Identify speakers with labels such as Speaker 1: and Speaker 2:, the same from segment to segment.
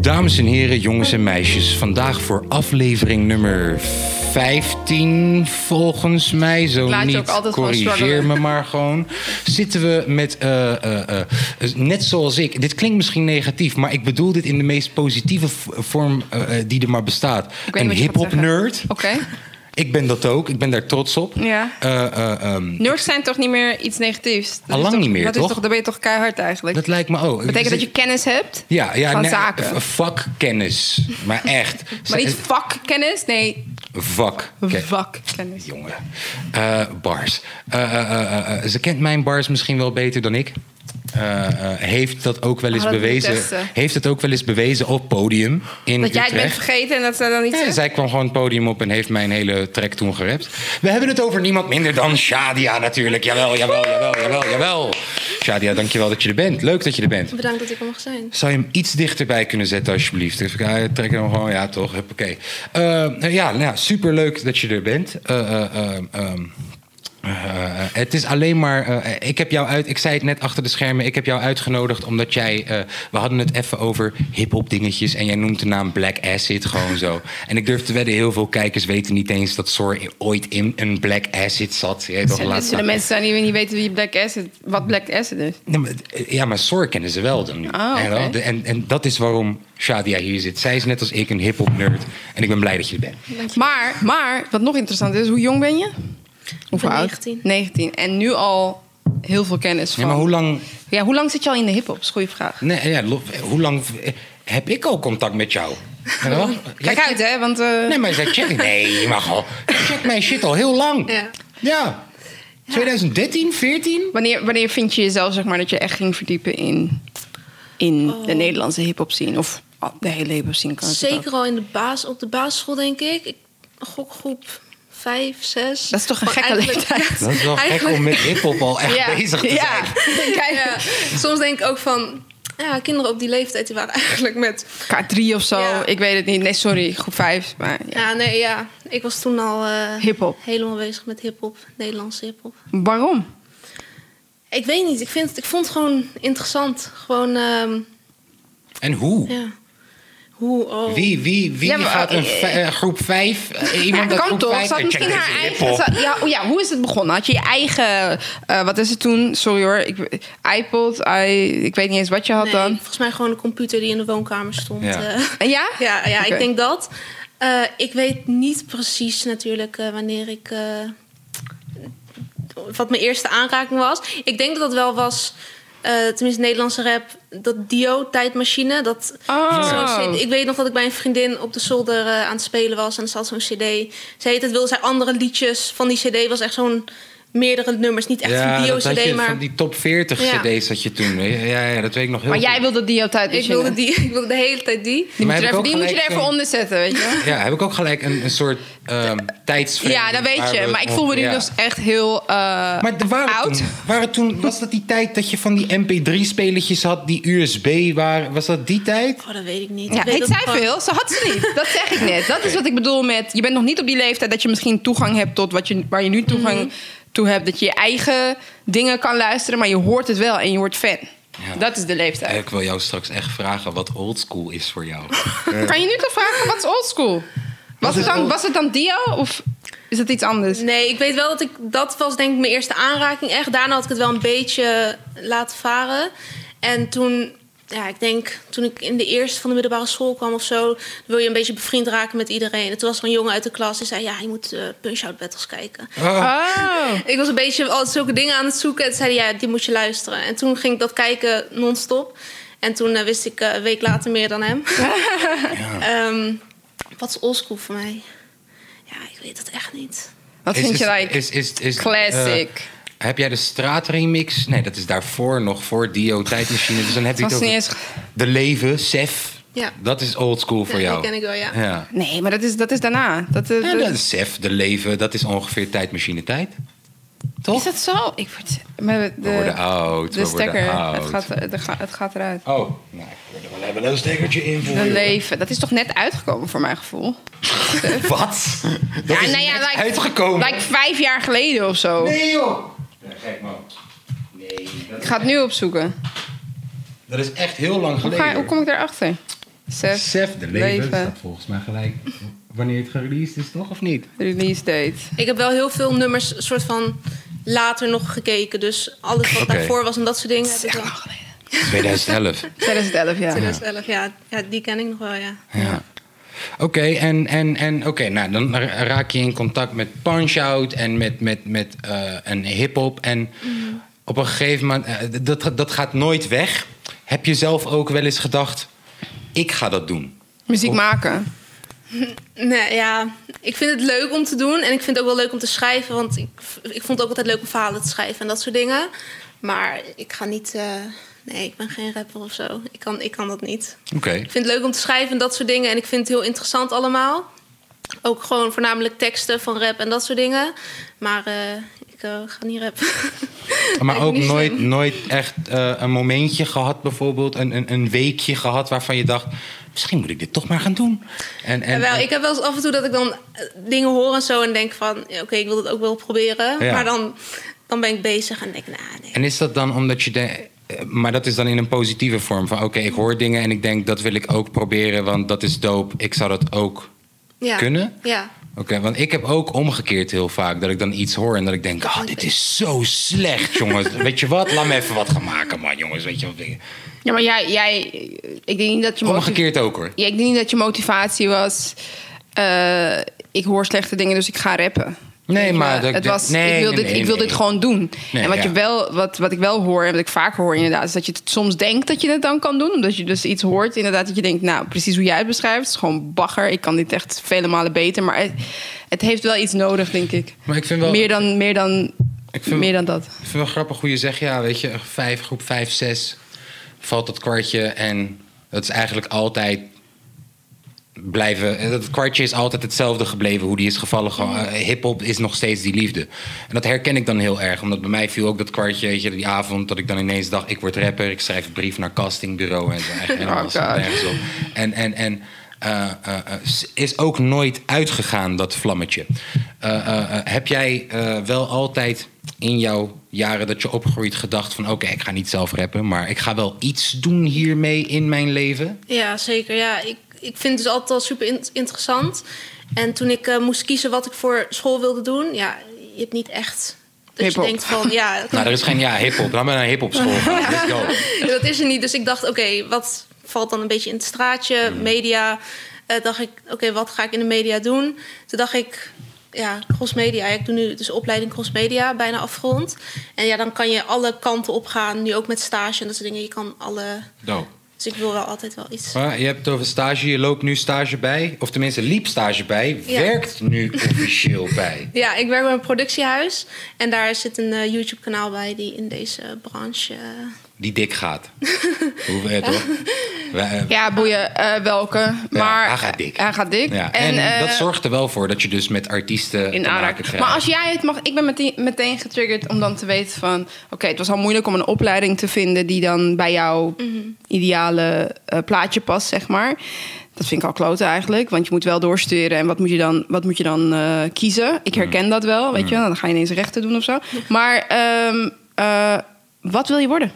Speaker 1: Dames en heren, jongens en meisjes, vandaag voor aflevering nummer 15 volgens mij. Zo
Speaker 2: laat je ook
Speaker 1: niet,
Speaker 2: altijd gewoon
Speaker 1: corrigeer me
Speaker 2: struggelen.
Speaker 1: maar gewoon. Zitten we met, eh, eh, eh, net zoals ik, dit klinkt misschien negatief... maar ik bedoel dit in de meest positieve v- vorm eh, eh, die er maar bestaat.
Speaker 2: Ik weet
Speaker 1: Een
Speaker 2: niet wat je gaat
Speaker 1: hip-hop
Speaker 2: zeggen.
Speaker 1: nerd.
Speaker 2: Oké.
Speaker 1: Ik ben dat ook, ik ben daar trots op.
Speaker 2: Ja.
Speaker 1: Eh, eh, ehm,
Speaker 2: Nerds zijn toch niet meer iets negatiefs? Dat is
Speaker 1: Allang
Speaker 2: toch-
Speaker 1: niet meer,
Speaker 2: dat
Speaker 1: toch?
Speaker 2: Is toch? Dan ben je toch keihard eigenlijk?
Speaker 1: dat lijkt me ook.
Speaker 2: Betekent dat je kennis hebt
Speaker 1: ja, ja,
Speaker 2: van
Speaker 1: nee,
Speaker 2: zaken.
Speaker 1: v- vakkennis. Maar echt.
Speaker 2: Maar niet vakkennis, nee,
Speaker 1: Vakkennis.
Speaker 2: vakkennis.
Speaker 1: Jongen. Eh, bars. Eh, eh, eh, eh, ze kent mijn bars misschien wel beter dan ik. Eh, eh, heeft dat ook wel eens
Speaker 2: Ah, dat moet ik
Speaker 1: bewezen?
Speaker 2: testen.
Speaker 1: Heeft het ook wel eens bewezen op podium in
Speaker 2: Dat jij het bent
Speaker 1: Utrecht?
Speaker 2: vergeten en dat ze dan niet
Speaker 1: Ja,
Speaker 2: zeggen.
Speaker 1: zij kwam gewoon het podium op en heeft mijn hele track toen gerapt. We hebben het over niemand minder dan Shadia natuurlijk. Jawel, jawel, jawel, jawel, jawel. Shadia, dankjewel dat je er bent. Leuk dat je er bent.
Speaker 3: Bedankt dat ik er mocht zijn.
Speaker 1: Zou je hem iets dichterbij kunnen zetten, alsjeblieft? Even kijken, trek hem gewoon, ja toch, huppakee. Eh ja, nou, superleuk dat je er bent. Eh, eh, ehm, ehm, eh, het is alleen maar. eh, ik heb jou uit. Ik zei het net achter de schermen. Ik heb jou uitgenodigd omdat jij. eh, we hadden het even over hip-hop dingetjes. En jij noemt de naam Black Acid gewoon zo. En ik durf te wedden, heel veel kijkers weten niet eens dat Soar ooit in een Black Acid zat. Je weet toch,
Speaker 2: Zullen-
Speaker 1: laat
Speaker 2: zullen
Speaker 1: staan.
Speaker 2: mensen zijn die niet weten wie Black Acid, wat Black Acid is? dus.
Speaker 1: Nee, maar- eh, ja, maar Sor kennen ze wel dan nu.
Speaker 2: Ah, oké.
Speaker 1: En wel, de- en, en dat is waarom Shadia hier zit. Zij is net als ik een hip-hop nerd. En ik ben blij dat je er bent.
Speaker 2: Maar, maar, wat nog interessant is, hoe jong ben je? Hoeveel
Speaker 3: ben
Speaker 2: oud?
Speaker 3: 19.
Speaker 2: 19. En nu al heel veel kennis van...
Speaker 1: Ja, maar hoe lang,
Speaker 2: Ja, hoe lang zit je al in de hip-hop? Is een goede vraag.
Speaker 1: nee, ja, lo- hoe lang eh, heb ik al contact met jou? En wel? Jij-
Speaker 2: Kijk uit, hè, want... eh,
Speaker 1: Nee, maar zij check. Nee, je mag al. Je checkt mijn shit al heel lang.
Speaker 3: Ja.
Speaker 1: Ja. 2013, 14?
Speaker 2: Wanneer, wanneer vind je jezelf, zeg maar, dat je echt ging verdiepen in, in de Nederlandse hip-hop scene? Of al- de hele hip-hop scene kan natuurlijk ook.
Speaker 3: Zeker al in de basis, op de basisschool, denk ik. ik gokgroep 5, 6.
Speaker 2: Dat is toch een gekke leeftijd?
Speaker 1: Dat is wel gek om met hip-hop al echt bezig te zijn.
Speaker 2: Kijk,
Speaker 3: Soms denk ik ook van... Ja, kinderen op die leeftijd die waren eigenlijk met...
Speaker 2: K3 of zo,
Speaker 3: Ja.
Speaker 2: ik weet het niet. Nee, sorry, groep 5. Maar ja.
Speaker 3: Ja, nee, ja. Ik was toen al... eh,
Speaker 2: Hip-hop.
Speaker 3: Helemaal bezig met hiphop. Nederlandse hiphop.
Speaker 2: Waarom?
Speaker 3: Ik weet niet. Ik, vind, ik vond het gewoon interessant. Gewoon, ehm,
Speaker 1: En hoe?
Speaker 3: ja. Hoe, oh.
Speaker 1: Wie, wie, wie
Speaker 2: Ja, maar,
Speaker 1: gaat een
Speaker 2: eh,
Speaker 1: vij- eh, groep 5?
Speaker 2: Ja,
Speaker 1: Iemand dat
Speaker 2: kan
Speaker 1: groep
Speaker 2: toch?
Speaker 1: vijf-
Speaker 2: Zat
Speaker 1: Ik
Speaker 2: misschien
Speaker 1: check
Speaker 2: haar
Speaker 1: even
Speaker 2: eigen...
Speaker 1: hip-hop.
Speaker 2: zat- ja, oh ja, hoe is het begonnen? Had je je eigen... eh, wat is het toen? Sorry hoor, ik, iPod, i, ik weet niet eens wat je had
Speaker 3: Nee,
Speaker 2: dan.
Speaker 3: Volgens mij gewoon een computer die in de woonkamer stond.
Speaker 1: Ja.
Speaker 3: eh.
Speaker 2: Eh, Ja?
Speaker 3: Ja, ja
Speaker 2: Oké.
Speaker 3: ik denk dat. Eh, ik weet niet precies natuurlijk eh, wanneer ik. eh, wat mijn eerste aanraking was. Ik denk dat dat wel was. eh, tenminste, Nederlandse rap. Dat Dio-tijdmachine. Dat,
Speaker 2: Oh.
Speaker 3: zo'n CD ik weet nog dat ik bij een vriendin op de zolder eh, aan het spelen was. En er zat zo'n CD. Ze heet het, wilde zij andere liedjes van die CD. Was echt zo'n meerdere nummers. Niet echt
Speaker 1: Ja,
Speaker 3: een
Speaker 1: dat had je
Speaker 3: Dio-CD, maar.
Speaker 1: van die top 40
Speaker 3: Ja.
Speaker 1: cd's had je toen. Ja, ja, dat weet ik nog heel
Speaker 2: Maar jij
Speaker 1: goed.
Speaker 2: wilde die altijd dus
Speaker 3: Ik wilde, die, ik wilde de hele tijd die.
Speaker 1: Maar
Speaker 2: Die
Speaker 1: heb
Speaker 2: moet je er
Speaker 1: ik
Speaker 2: even,
Speaker 1: ook
Speaker 2: die moet je er
Speaker 1: gelijk
Speaker 2: even
Speaker 1: een-
Speaker 2: onder zetten, weet je wel?
Speaker 1: Ja, heb ik ook gelijk een, een soort ehm tijdsframe
Speaker 2: Ja, dat weet
Speaker 1: waar
Speaker 2: je.
Speaker 1: we
Speaker 2: Maar ik
Speaker 1: op-
Speaker 2: voel me nu
Speaker 1: ja.
Speaker 2: dus echt heel eh,
Speaker 1: Maar er waren
Speaker 2: oud.
Speaker 1: toen, waren toen, was dat die tijd dat je van die mp3-spelertjes had, die USB waren? Was dat die tijd?
Speaker 3: Oh, dat weet ik niet.
Speaker 2: Ja,
Speaker 3: ik weet
Speaker 2: ik
Speaker 3: dat
Speaker 2: zei
Speaker 3: gewoon-
Speaker 2: veel, ze had ze niet. Dat zeg ik net. Dat is wat ik bedoel met... je bent nog niet op die leeftijd dat je misschien toegang hebt... tot wat je, waar je nu toegang toe hebt. Dat je je eigen dingen kan luisteren... maar je hoort het wel en je wordt fan.
Speaker 1: Ja.
Speaker 2: Dat is de leeftijd.
Speaker 1: Eh, Ik wil jou straks echt vragen wat oldschool is voor jou. Oh,
Speaker 2: Kan je nu toch vragen, wat is oldschool? Was, het
Speaker 1: is
Speaker 2: dan-
Speaker 1: old-
Speaker 2: was het dan Dio of is het iets anders?
Speaker 3: Nee, ik weet wel dat ik... Dat was denk ik mijn eerste aanraking echt. Daarna had ik het wel een beetje laten varen. En toen... Ja, ik denk toen ik in de eerste van de middelbare school kwam of zo... dan wil je een beetje bevriend raken met iedereen. En toen was er een jongen uit de klas die zei... ja, je moet eh, Punch-Out Battles kijken.
Speaker 2: Oh.
Speaker 3: Ik was een beetje al zulke dingen aan het zoeken. En toen zei hij, ja, die moet je luisteren. En toen ging ik dat kijken non-stop. En toen eh, wist ik eh, een week later meer dan hem. Ehm, wat is oldschool voor mij? Ja, ik weet het echt niet.
Speaker 2: Wat
Speaker 1: Is-
Speaker 2: vind je
Speaker 1: is-
Speaker 2: like
Speaker 1: is- is- is-
Speaker 2: classic?
Speaker 1: eh, heb jij de straatremix? Nee, dat is daarvoor nog, voor Dio, tijdmachine. Dus dan heb je
Speaker 2: was
Speaker 1: het over
Speaker 2: niet eens-
Speaker 1: De Leven, Sef.
Speaker 3: Ja.
Speaker 1: Dat is oldschool voor
Speaker 3: Ja,
Speaker 1: jou.
Speaker 3: dat ken ik wel, ja.
Speaker 1: ja.
Speaker 2: nee, maar dat is, dat is daarna. Dat, eh,
Speaker 1: Ja,
Speaker 2: dat-
Speaker 1: dat is Sef, de leven, dat is ongeveer tijdmachine tijd. Toch?
Speaker 2: Is dat zo? Ik word... maar de,
Speaker 1: We worden oud,
Speaker 2: De
Speaker 1: we worden
Speaker 2: stekker,
Speaker 1: oud.
Speaker 2: Het, gaat, het, gaat, het gaat eruit.
Speaker 1: Oh, nou, ik wil er wel hebben een stekkertje in voor.
Speaker 2: Een leven, dat is toch net uitgekomen voor mijn gevoel? nou
Speaker 1: Wat? Dat is net
Speaker 2: like-
Speaker 1: uitgekomen.
Speaker 2: Like vijf jaar geleden of zo.
Speaker 1: Nee, joh. Ja, gek man. Nee, dat
Speaker 2: Ik
Speaker 1: is,
Speaker 2: ga het nu opzoeken.
Speaker 1: dat is echt heel lang
Speaker 2: Hoe,
Speaker 1: geleden.
Speaker 2: ga, hoe kom ik daarachter? Sef,
Speaker 1: Sef de Leven,
Speaker 2: Leven.
Speaker 1: staat volgens mij gelijk wanneer het gereleased is, toch? Of niet?
Speaker 2: release date.
Speaker 3: Ik heb wel heel veel nummers soort van later nog gekeken. Dus alles wat
Speaker 1: Oké.
Speaker 3: daarvoor was en dat soort dingen. Heb ik wel.
Speaker 1: 2011.
Speaker 2: 2011, ja.
Speaker 3: 2011, ja. ja. Die ken ik nog wel, ja.
Speaker 1: Ja. Oké, en, en, en oké, nou, dan ra- raak je in contact met Punch-Out en met, met, met eh, een hip-hop. En
Speaker 3: Mhm.
Speaker 1: op een gegeven moment, eh, d- dat, ga- dat gaat nooit weg. Heb je zelf ook wel eens gedacht, ik ga dat doen?
Speaker 2: Muziek maken.
Speaker 3: Nee, ja. Ik vind het leuk om te doen. En ik vind het ook wel leuk om te schrijven. Want ik, v- ik vond het ook altijd leuk om verhalen te schrijven en dat soort dingen. Maar ik ga niet... eh, nee, ik ben geen rapper of zo. Ik kan, ik kan dat niet.
Speaker 1: Oké.
Speaker 3: Ik vind het leuk om te schrijven en dat soort dingen. En ik vind het heel interessant allemaal. Ook gewoon voornamelijk teksten van rap en dat soort dingen. Maar eh, ik eh, ga niet rappen.
Speaker 1: Maar
Speaker 3: Lijkt me
Speaker 1: ook
Speaker 3: niet
Speaker 1: nooit,
Speaker 3: slim.
Speaker 1: nooit echt eh, een momentje gehad, bijvoorbeeld, een, een, een weekje gehad waarvan je dacht, misschien moet ik dit toch maar gaan doen. En, en,
Speaker 3: Jawel, ik heb wel eens af en toe dat ik dan eh, dingen hoor en zo en denk van... ja, oké, ik wil dat ook wel proberen.
Speaker 1: Ja.
Speaker 3: Maar dan, dan ben ik bezig en denk nah, nee.
Speaker 1: En is dat dan omdat je denkt. eh, Maar dat is dan in een positieve vorm van: oké, ik hoor dingen en ik denk dat wil ik ook proberen, want dat is dope. Ik zou dat ook.
Speaker 3: Ja.
Speaker 1: Kunnen?
Speaker 3: Ja.
Speaker 1: Oké, want ik heb ook omgekeerd heel vaak dat ik dan iets hoor en dat ik denk: ah, dit is zo slecht, jongens. Weet je wat? Laat me even wat gaan maken, man, jongens. Weet je wat? dingen.
Speaker 2: Ja, maar jij, jij ik denk niet dat je motiv-
Speaker 1: Omgekeerd ook hoor.
Speaker 2: Ja, ik denk niet dat je motivatie was. eh, ik hoor slechte dingen, dus ik ga rappen.
Speaker 1: Nee,
Speaker 2: Weet je
Speaker 1: maar
Speaker 2: wel?
Speaker 1: dat-
Speaker 2: het
Speaker 1: dat-
Speaker 2: was,
Speaker 1: nee,
Speaker 2: ik wil,
Speaker 1: nee,
Speaker 2: dit,
Speaker 1: nee,
Speaker 2: ik wil
Speaker 1: nee.
Speaker 2: dit gewoon doen.
Speaker 1: Nee,
Speaker 2: en wat,
Speaker 1: ja.
Speaker 2: je wel, wat, wat ik wel hoor en wat ik vaak hoor inderdaad... is dat je het soms denkt dat je het dan kan doen. Omdat je dus iets hoort inderdaad dat je denkt... nou, precies hoe jij het beschrijft, het is gewoon bagger. Ik kan dit echt vele malen beter. Maar het, het heeft wel iets nodig, denk ik.
Speaker 1: Maar ik vind wel-
Speaker 2: Meer dan, meer dan,
Speaker 1: Ik vind-
Speaker 2: meer dan dat.
Speaker 1: Ik vind het wel grappig hoe je zegt, ja, weet je, vijf, groep 5, 6 valt dat kwartje en dat is eigenlijk altijd blijven. en Dat kwartje is altijd hetzelfde gebleven, hoe die is gevallen. Gewoon, eh, Hip-hop is nog steeds die liefde. En dat herken ik dan heel erg, omdat bij mij viel ook dat kwartje, weet je, die avond dat ik dan ineens dacht, ik word rapper, ik schrijf een brief naar castingbureau en zo. Echt helemaal
Speaker 2: Oh,
Speaker 1: zo
Speaker 2: God.
Speaker 1: nergens op. En, en, en eh, eh, eh, s- is ook nooit uitgegaan, dat vlammetje. Eh, eh, eh, heb jij eh, wel altijd in jouw jaren dat je opgroeit gedacht van... oké, ik ga niet zelf rappen, maar ik ga wel iets doen hiermee in mijn leven?
Speaker 3: Ja, zeker. Ja, ik, ik vind het dus altijd al super in- interessant. En toen ik eh, moest kiezen wat ik voor school wilde doen, ja, je hebt niet echt. Dat
Speaker 2: Hiphop.
Speaker 3: je denkt van ja,
Speaker 1: Nou, er is geen ja, hiphop. Laat me naar hiphop school gaan. Let's go.
Speaker 3: ja, dat is er niet. Dus ik dacht, oké, wat valt dan een beetje in het straatje, media. Eh, dacht ik, oké, wat ga ik in de media doen? Toen dacht ik, ja, crossmedia. Ik doe nu dus de opleiding crossmedia, bijna afgerond. En ja, dan kan je alle kanten op gaan. Nu ook met stage en dat soort dingen. Je kan alle...
Speaker 1: Dope.
Speaker 3: Dus ik wil wel altijd wel iets.
Speaker 1: Maar je hebt het over stage. Je loopt nu stage bij. Of tenminste, liep stage bij.
Speaker 3: Ja.
Speaker 1: Werkt nu officieel bij.
Speaker 3: Ja, ik werk bij een productiehuis. En daar zit een eh, YouTube-kanaal bij die in deze branche... eh,
Speaker 1: Die dik gaat. Hoeveel eh, toch? Wij-
Speaker 2: Ja, boeien eh, welke. Maar
Speaker 1: hij gaat dik.
Speaker 2: Hij gaat dik.
Speaker 1: Ja, en
Speaker 2: eh,
Speaker 1: dat zorgt er wel voor dat je dus met artiesten
Speaker 2: in
Speaker 1: te maken
Speaker 2: aanraking.
Speaker 1: krijgt.
Speaker 2: Maar als jij het mag, ik ben meteen, meteen getriggerd om dan te weten van, oké, het was al moeilijk om een opleiding te vinden die dan bij jouw
Speaker 1: Mhm.
Speaker 2: ideale eh, plaatje past, zeg maar. Dat vind ik al kloten eigenlijk, want je moet wel doorsturen en wat moet je dan, wat moet je dan eh, kiezen? Ik herken dat wel, weet je wel. Dan ga je ineens rechten doen of zo. Maar ehm, eh, wat wil je worden?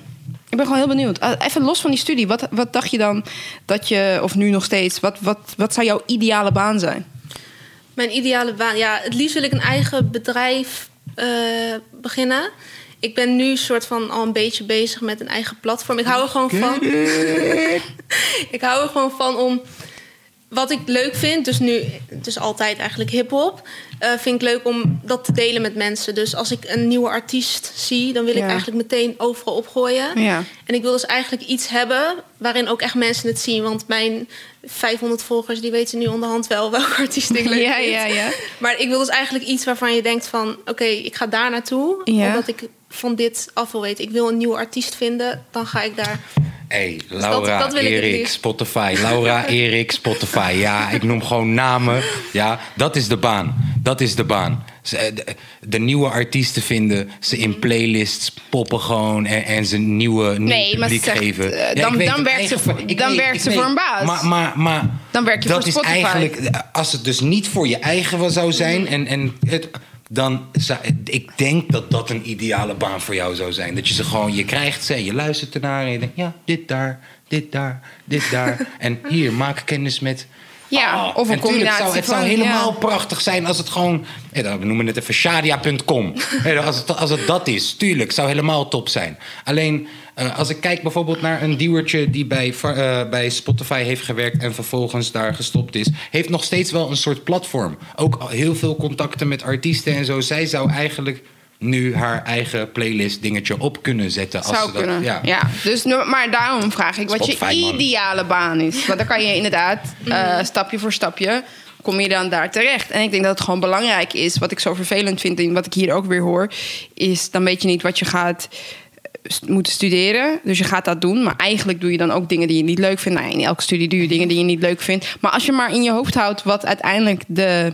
Speaker 2: Ik ben gewoon heel benieuwd. Eh, Even los van die studie, wat, wat dacht je dan dat je, of nu nog steeds, wat, wat, wat zou jouw ideale baan zijn?
Speaker 3: Mijn ideale baan. Ja, het liefst wil ik een eigen bedrijf eh, beginnen. Ik ben nu soort van al een beetje bezig met een eigen platform. Ik hou er gewoon van. ik hou er gewoon van om wat ik leuk vind, dus nu, dus altijd eigenlijk hip-hop, eh, vind ik leuk om dat te delen met mensen. Dus als ik een nieuwe artiest zie, dan wil ik
Speaker 2: Ja.
Speaker 3: eigenlijk meteen overal opgooien.
Speaker 2: Ja.
Speaker 3: En ik wil dus eigenlijk iets hebben waarin ook echt mensen het zien. Want mijn 500 volgers, die weten nu onderhand wel welke artiest ik leuk
Speaker 2: Ja,
Speaker 3: vind.
Speaker 2: ja, ja.
Speaker 3: Maar ik wil dus eigenlijk iets waarvan je denkt van... oké, ik ga daar naartoe,
Speaker 2: Ja.
Speaker 3: omdat ik van dit af wil weten. Ik wil een nieuwe artiest vinden, dan ga ik daar...
Speaker 1: Hey,
Speaker 2: Dus
Speaker 3: dat-
Speaker 1: Laura,
Speaker 3: dat wil ik het
Speaker 1: Erik,
Speaker 3: liefst.
Speaker 1: Spotify. Laura, Erik, Spotify. Ja, ik noem gewoon namen. Ja, dat is de baan. Dat is de baan. Ze, eh, de, de nieuwe artiesten vinden, ze in playlists poppen gewoon en, en ze nieuwe nieuw
Speaker 2: Nee, maar ze
Speaker 1: publiek
Speaker 2: zegt,
Speaker 1: geven.
Speaker 2: eh,
Speaker 1: Ja, ik
Speaker 2: dan-
Speaker 1: weet
Speaker 2: dan
Speaker 1: het,
Speaker 2: werkt ze
Speaker 1: eigen-
Speaker 2: voor-
Speaker 1: ik
Speaker 2: dan
Speaker 1: weet-
Speaker 2: werkt
Speaker 1: ik
Speaker 2: ze
Speaker 1: weet.
Speaker 2: voor een baas.
Speaker 1: Maar, maar, maar
Speaker 2: Dan werk je
Speaker 1: dat
Speaker 2: voor
Speaker 1: is
Speaker 2: Spotify. Mhm.
Speaker 1: eigenlijk, als het dus niet voor je eigen zou zijn en, en het, dan zou, ik denk dat dat een ideale baan voor jou zou zijn. Dat je ze gewoon, je krijgt ze, je luistert ernaar en je denkt, ja, dit daar, dit daar, dit daar. en hier, maak kennis met... Ah,
Speaker 2: Ja, of een
Speaker 1: en tuurlijk
Speaker 2: combinatie
Speaker 1: zou, Het zou
Speaker 2: van, ja.
Speaker 1: helemaal prachtig zijn als het gewoon... eh, dan- We noemen het even shadia.com. Eh, als, het, als het dat is, tuurlijk, zou helemaal top zijn. Alleen, eh, als ik kijk bijvoorbeeld naar een duwertje... die bij, Fa- eh, bij Spotify heeft gewerkt en vervolgens daar gestopt is... heeft nog steeds wel een soort platform. Ook al heel veel contacten met artiesten en zo. Zij zou eigenlijk nu haar eigen playlist dingetje op kunnen zetten. als
Speaker 2: Zou
Speaker 1: ze dat,
Speaker 2: kunnen.
Speaker 1: ja.
Speaker 2: ja. dus, nu- maar daarom vraag ik wat
Speaker 1: Spotify,
Speaker 2: je
Speaker 1: man.
Speaker 2: ideale baan is. Want dan kan je inderdaad eh, stapje voor stapje kom je dan daar terecht. En ik denk dat het gewoon belangrijk is. Wat ik zo vervelend vind en wat ik hier ook weer hoor, is dan weet je niet wat je gaat eh, st- moeten studeren. Dus je gaat dat doen. Maar eigenlijk doe je dan ook dingen die je niet leuk vindt. Nou, ja, in elke studie doe je dingen die je niet leuk vindt. Maar als je maar in je hoofd houdt wat uiteindelijk de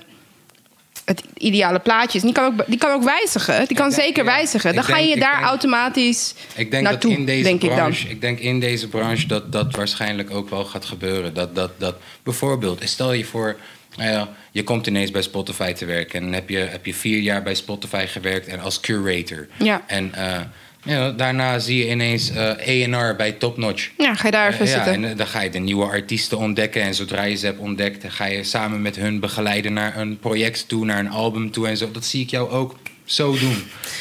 Speaker 2: het ideale plaatje is. Die kan ook, die kan ook wijzigen. Die kan
Speaker 1: denk-
Speaker 2: zeker
Speaker 1: ja.
Speaker 2: wijzigen.
Speaker 1: Ik
Speaker 2: Dan ga
Speaker 1: denk-
Speaker 2: je
Speaker 1: ik
Speaker 2: daar
Speaker 1: denk-
Speaker 2: automatisch
Speaker 1: Ik denk
Speaker 2: naartoe,
Speaker 1: dat in deze
Speaker 2: denk ik dan.
Speaker 1: branche, ik, denk in deze branche dat dat waarschijnlijk ook wel gaat gebeuren. Dat, dat, dat bijvoorbeeld, stel je voor, nou ja, je komt ineens bij Spotify te werken en dan heb je, heb je vier jaar bij Spotify gewerkt en als curator.
Speaker 2: Ja.
Speaker 1: En eh, ja, daarna zie je ineens eh A&R bij Top Notch.
Speaker 2: Ja, ga je daar even
Speaker 1: Eh, ja,
Speaker 2: zitten.
Speaker 1: en eh, dan ga je de nieuwe artiesten ontdekken. En zodra je ze hebt ontdekt, dan ga je samen met hun begeleiden naar een project toe, naar een album toe en zo. Dat zie ik jou ook zo doen.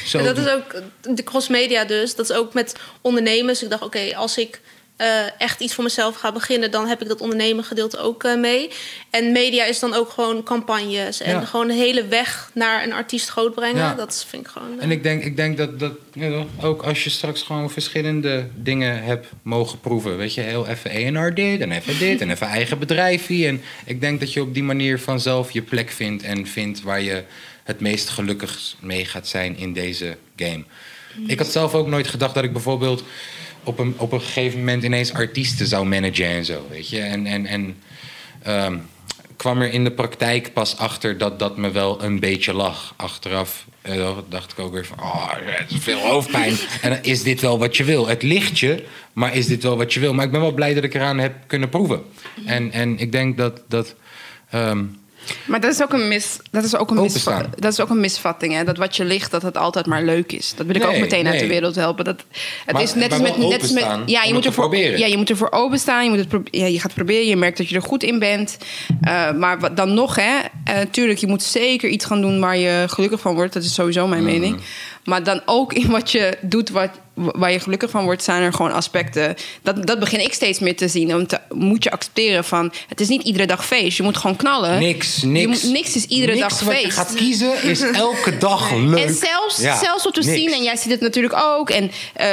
Speaker 1: Zo
Speaker 3: En dat
Speaker 1: doen.
Speaker 3: is ook de crossmedia dus. Dat is ook met ondernemers. Ik dacht, oké, als ik eh, echt iets voor mezelf ga beginnen... dan heb ik dat ondernemen gedeelte ook eh, mee. En media is dan ook gewoon campagnes. En
Speaker 1: Ja.
Speaker 3: gewoon de hele weg naar een artiest grootbrengen.
Speaker 1: Ja.
Speaker 3: Dat vind ik gewoon... eh,
Speaker 1: En ik denk, ik denk dat, dat you know, ook als je straks gewoon verschillende dingen hebt mogen proeven. Weet je, heel even ENR dit en even dit en even eigen bedrijfje. En ik denk dat je op die manier vanzelf je plek vindt en vindt waar je het meest gelukkig mee gaat zijn in deze game. Ik had zelf ook nooit gedacht dat ik bijvoorbeeld op een, op een gegeven moment ineens artiesten zou managen en zo. Weet je, en. en, en ehm, kwam er in de praktijk pas achter dat dat me wel een beetje lag. Achteraf eh, dacht ik ook weer van, oh, het is veel hoofdpijn. en dan is dit wel wat je wil? Het ligt je, maar is dit wel wat je wil? Maar ik ben wel blij dat ik eraan heb kunnen proeven.
Speaker 2: Mhm.
Speaker 1: En, en ik denk dat... dat ehm,
Speaker 2: Maar dat is ook een, mis, dat is ook een, misva-
Speaker 1: Openstaan.
Speaker 2: dat is ook een misvatting. Hè? Dat wat je ligt, dat het altijd maar leuk is. Dat wil ik ook
Speaker 1: Nee,
Speaker 2: meteen uit de
Speaker 1: nee.
Speaker 2: wereld helpen. Dat, het
Speaker 1: Maar-
Speaker 2: is net
Speaker 1: maar
Speaker 2: als met,
Speaker 1: wel
Speaker 2: net als met
Speaker 1: openstaan
Speaker 2: ja,
Speaker 1: om
Speaker 2: je
Speaker 1: het
Speaker 2: moet
Speaker 1: te
Speaker 2: ervoor,
Speaker 1: proberen.
Speaker 2: ja, je moet ervoor openstaan. Je, moet het pro- ja, je gaat proberen. Je merkt dat je er goed in bent. Eh, maar wat, dan nog, hè, eh, tuurlijk, je moet zeker iets gaan doen waar je gelukkig van wordt. Dat is sowieso
Speaker 1: Mm.
Speaker 2: mijn mening. Maar dan ook in wat je doet, wat, waar je gelukkig van wordt, zijn er gewoon aspecten. Dat, dat begin ik steeds meer te zien. Want moet je accepteren van het is niet iedere dag feest. Je moet gewoon knallen.
Speaker 1: niks,
Speaker 2: Je
Speaker 1: niks.
Speaker 2: moet- niks is iedere
Speaker 1: niks
Speaker 2: dag
Speaker 1: wat
Speaker 2: feest.
Speaker 1: je gaat kiezen is elke dag leuk.
Speaker 2: En zelfs,
Speaker 1: Ja,
Speaker 2: zelfs op de
Speaker 1: niks.
Speaker 2: scene, en jij ziet het natuurlijk ook. En eh,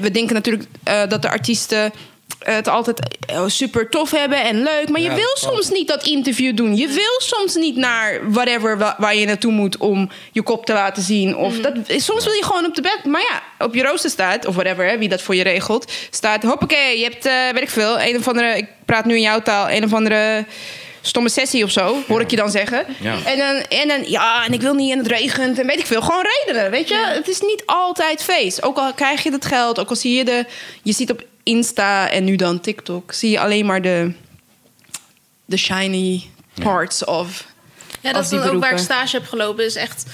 Speaker 2: we denken natuurlijk eh, dat de artiesten eh, het altijd eh, super tof hebben en leuk. Maar je
Speaker 1: Ja,
Speaker 2: wil
Speaker 1: dat klopt.
Speaker 2: soms niet dat interview doen. Je wil soms niet naar whatever wa- waar je naartoe moet om je kop te laten zien. Of dat, soms wil je gewoon op de bed. Maar ja, op je rooster staat, of whatever, hè, wie dat voor je regelt, staat hoppakee, je hebt, eh weet ik veel, een of andere, ik praat nu in jouw taal, een of andere stomme sessie of zo, hoor ik je dan zeggen.
Speaker 1: Ja.
Speaker 2: En dan, en dan, ja, en ik wil niet en het regent en weet ik veel. Gewoon redenen, weet je. Het is niet altijd feest. Ook al krijg je dat geld, ook al zie je de... Je ziet op Insta en nu dan TikTok... zie je alleen maar de, de shiny parts of...
Speaker 3: Ja,
Speaker 2: als
Speaker 3: dat is
Speaker 2: die
Speaker 3: dan ook waar ik
Speaker 2: beroepen.
Speaker 3: stage heb gelopen. Is echt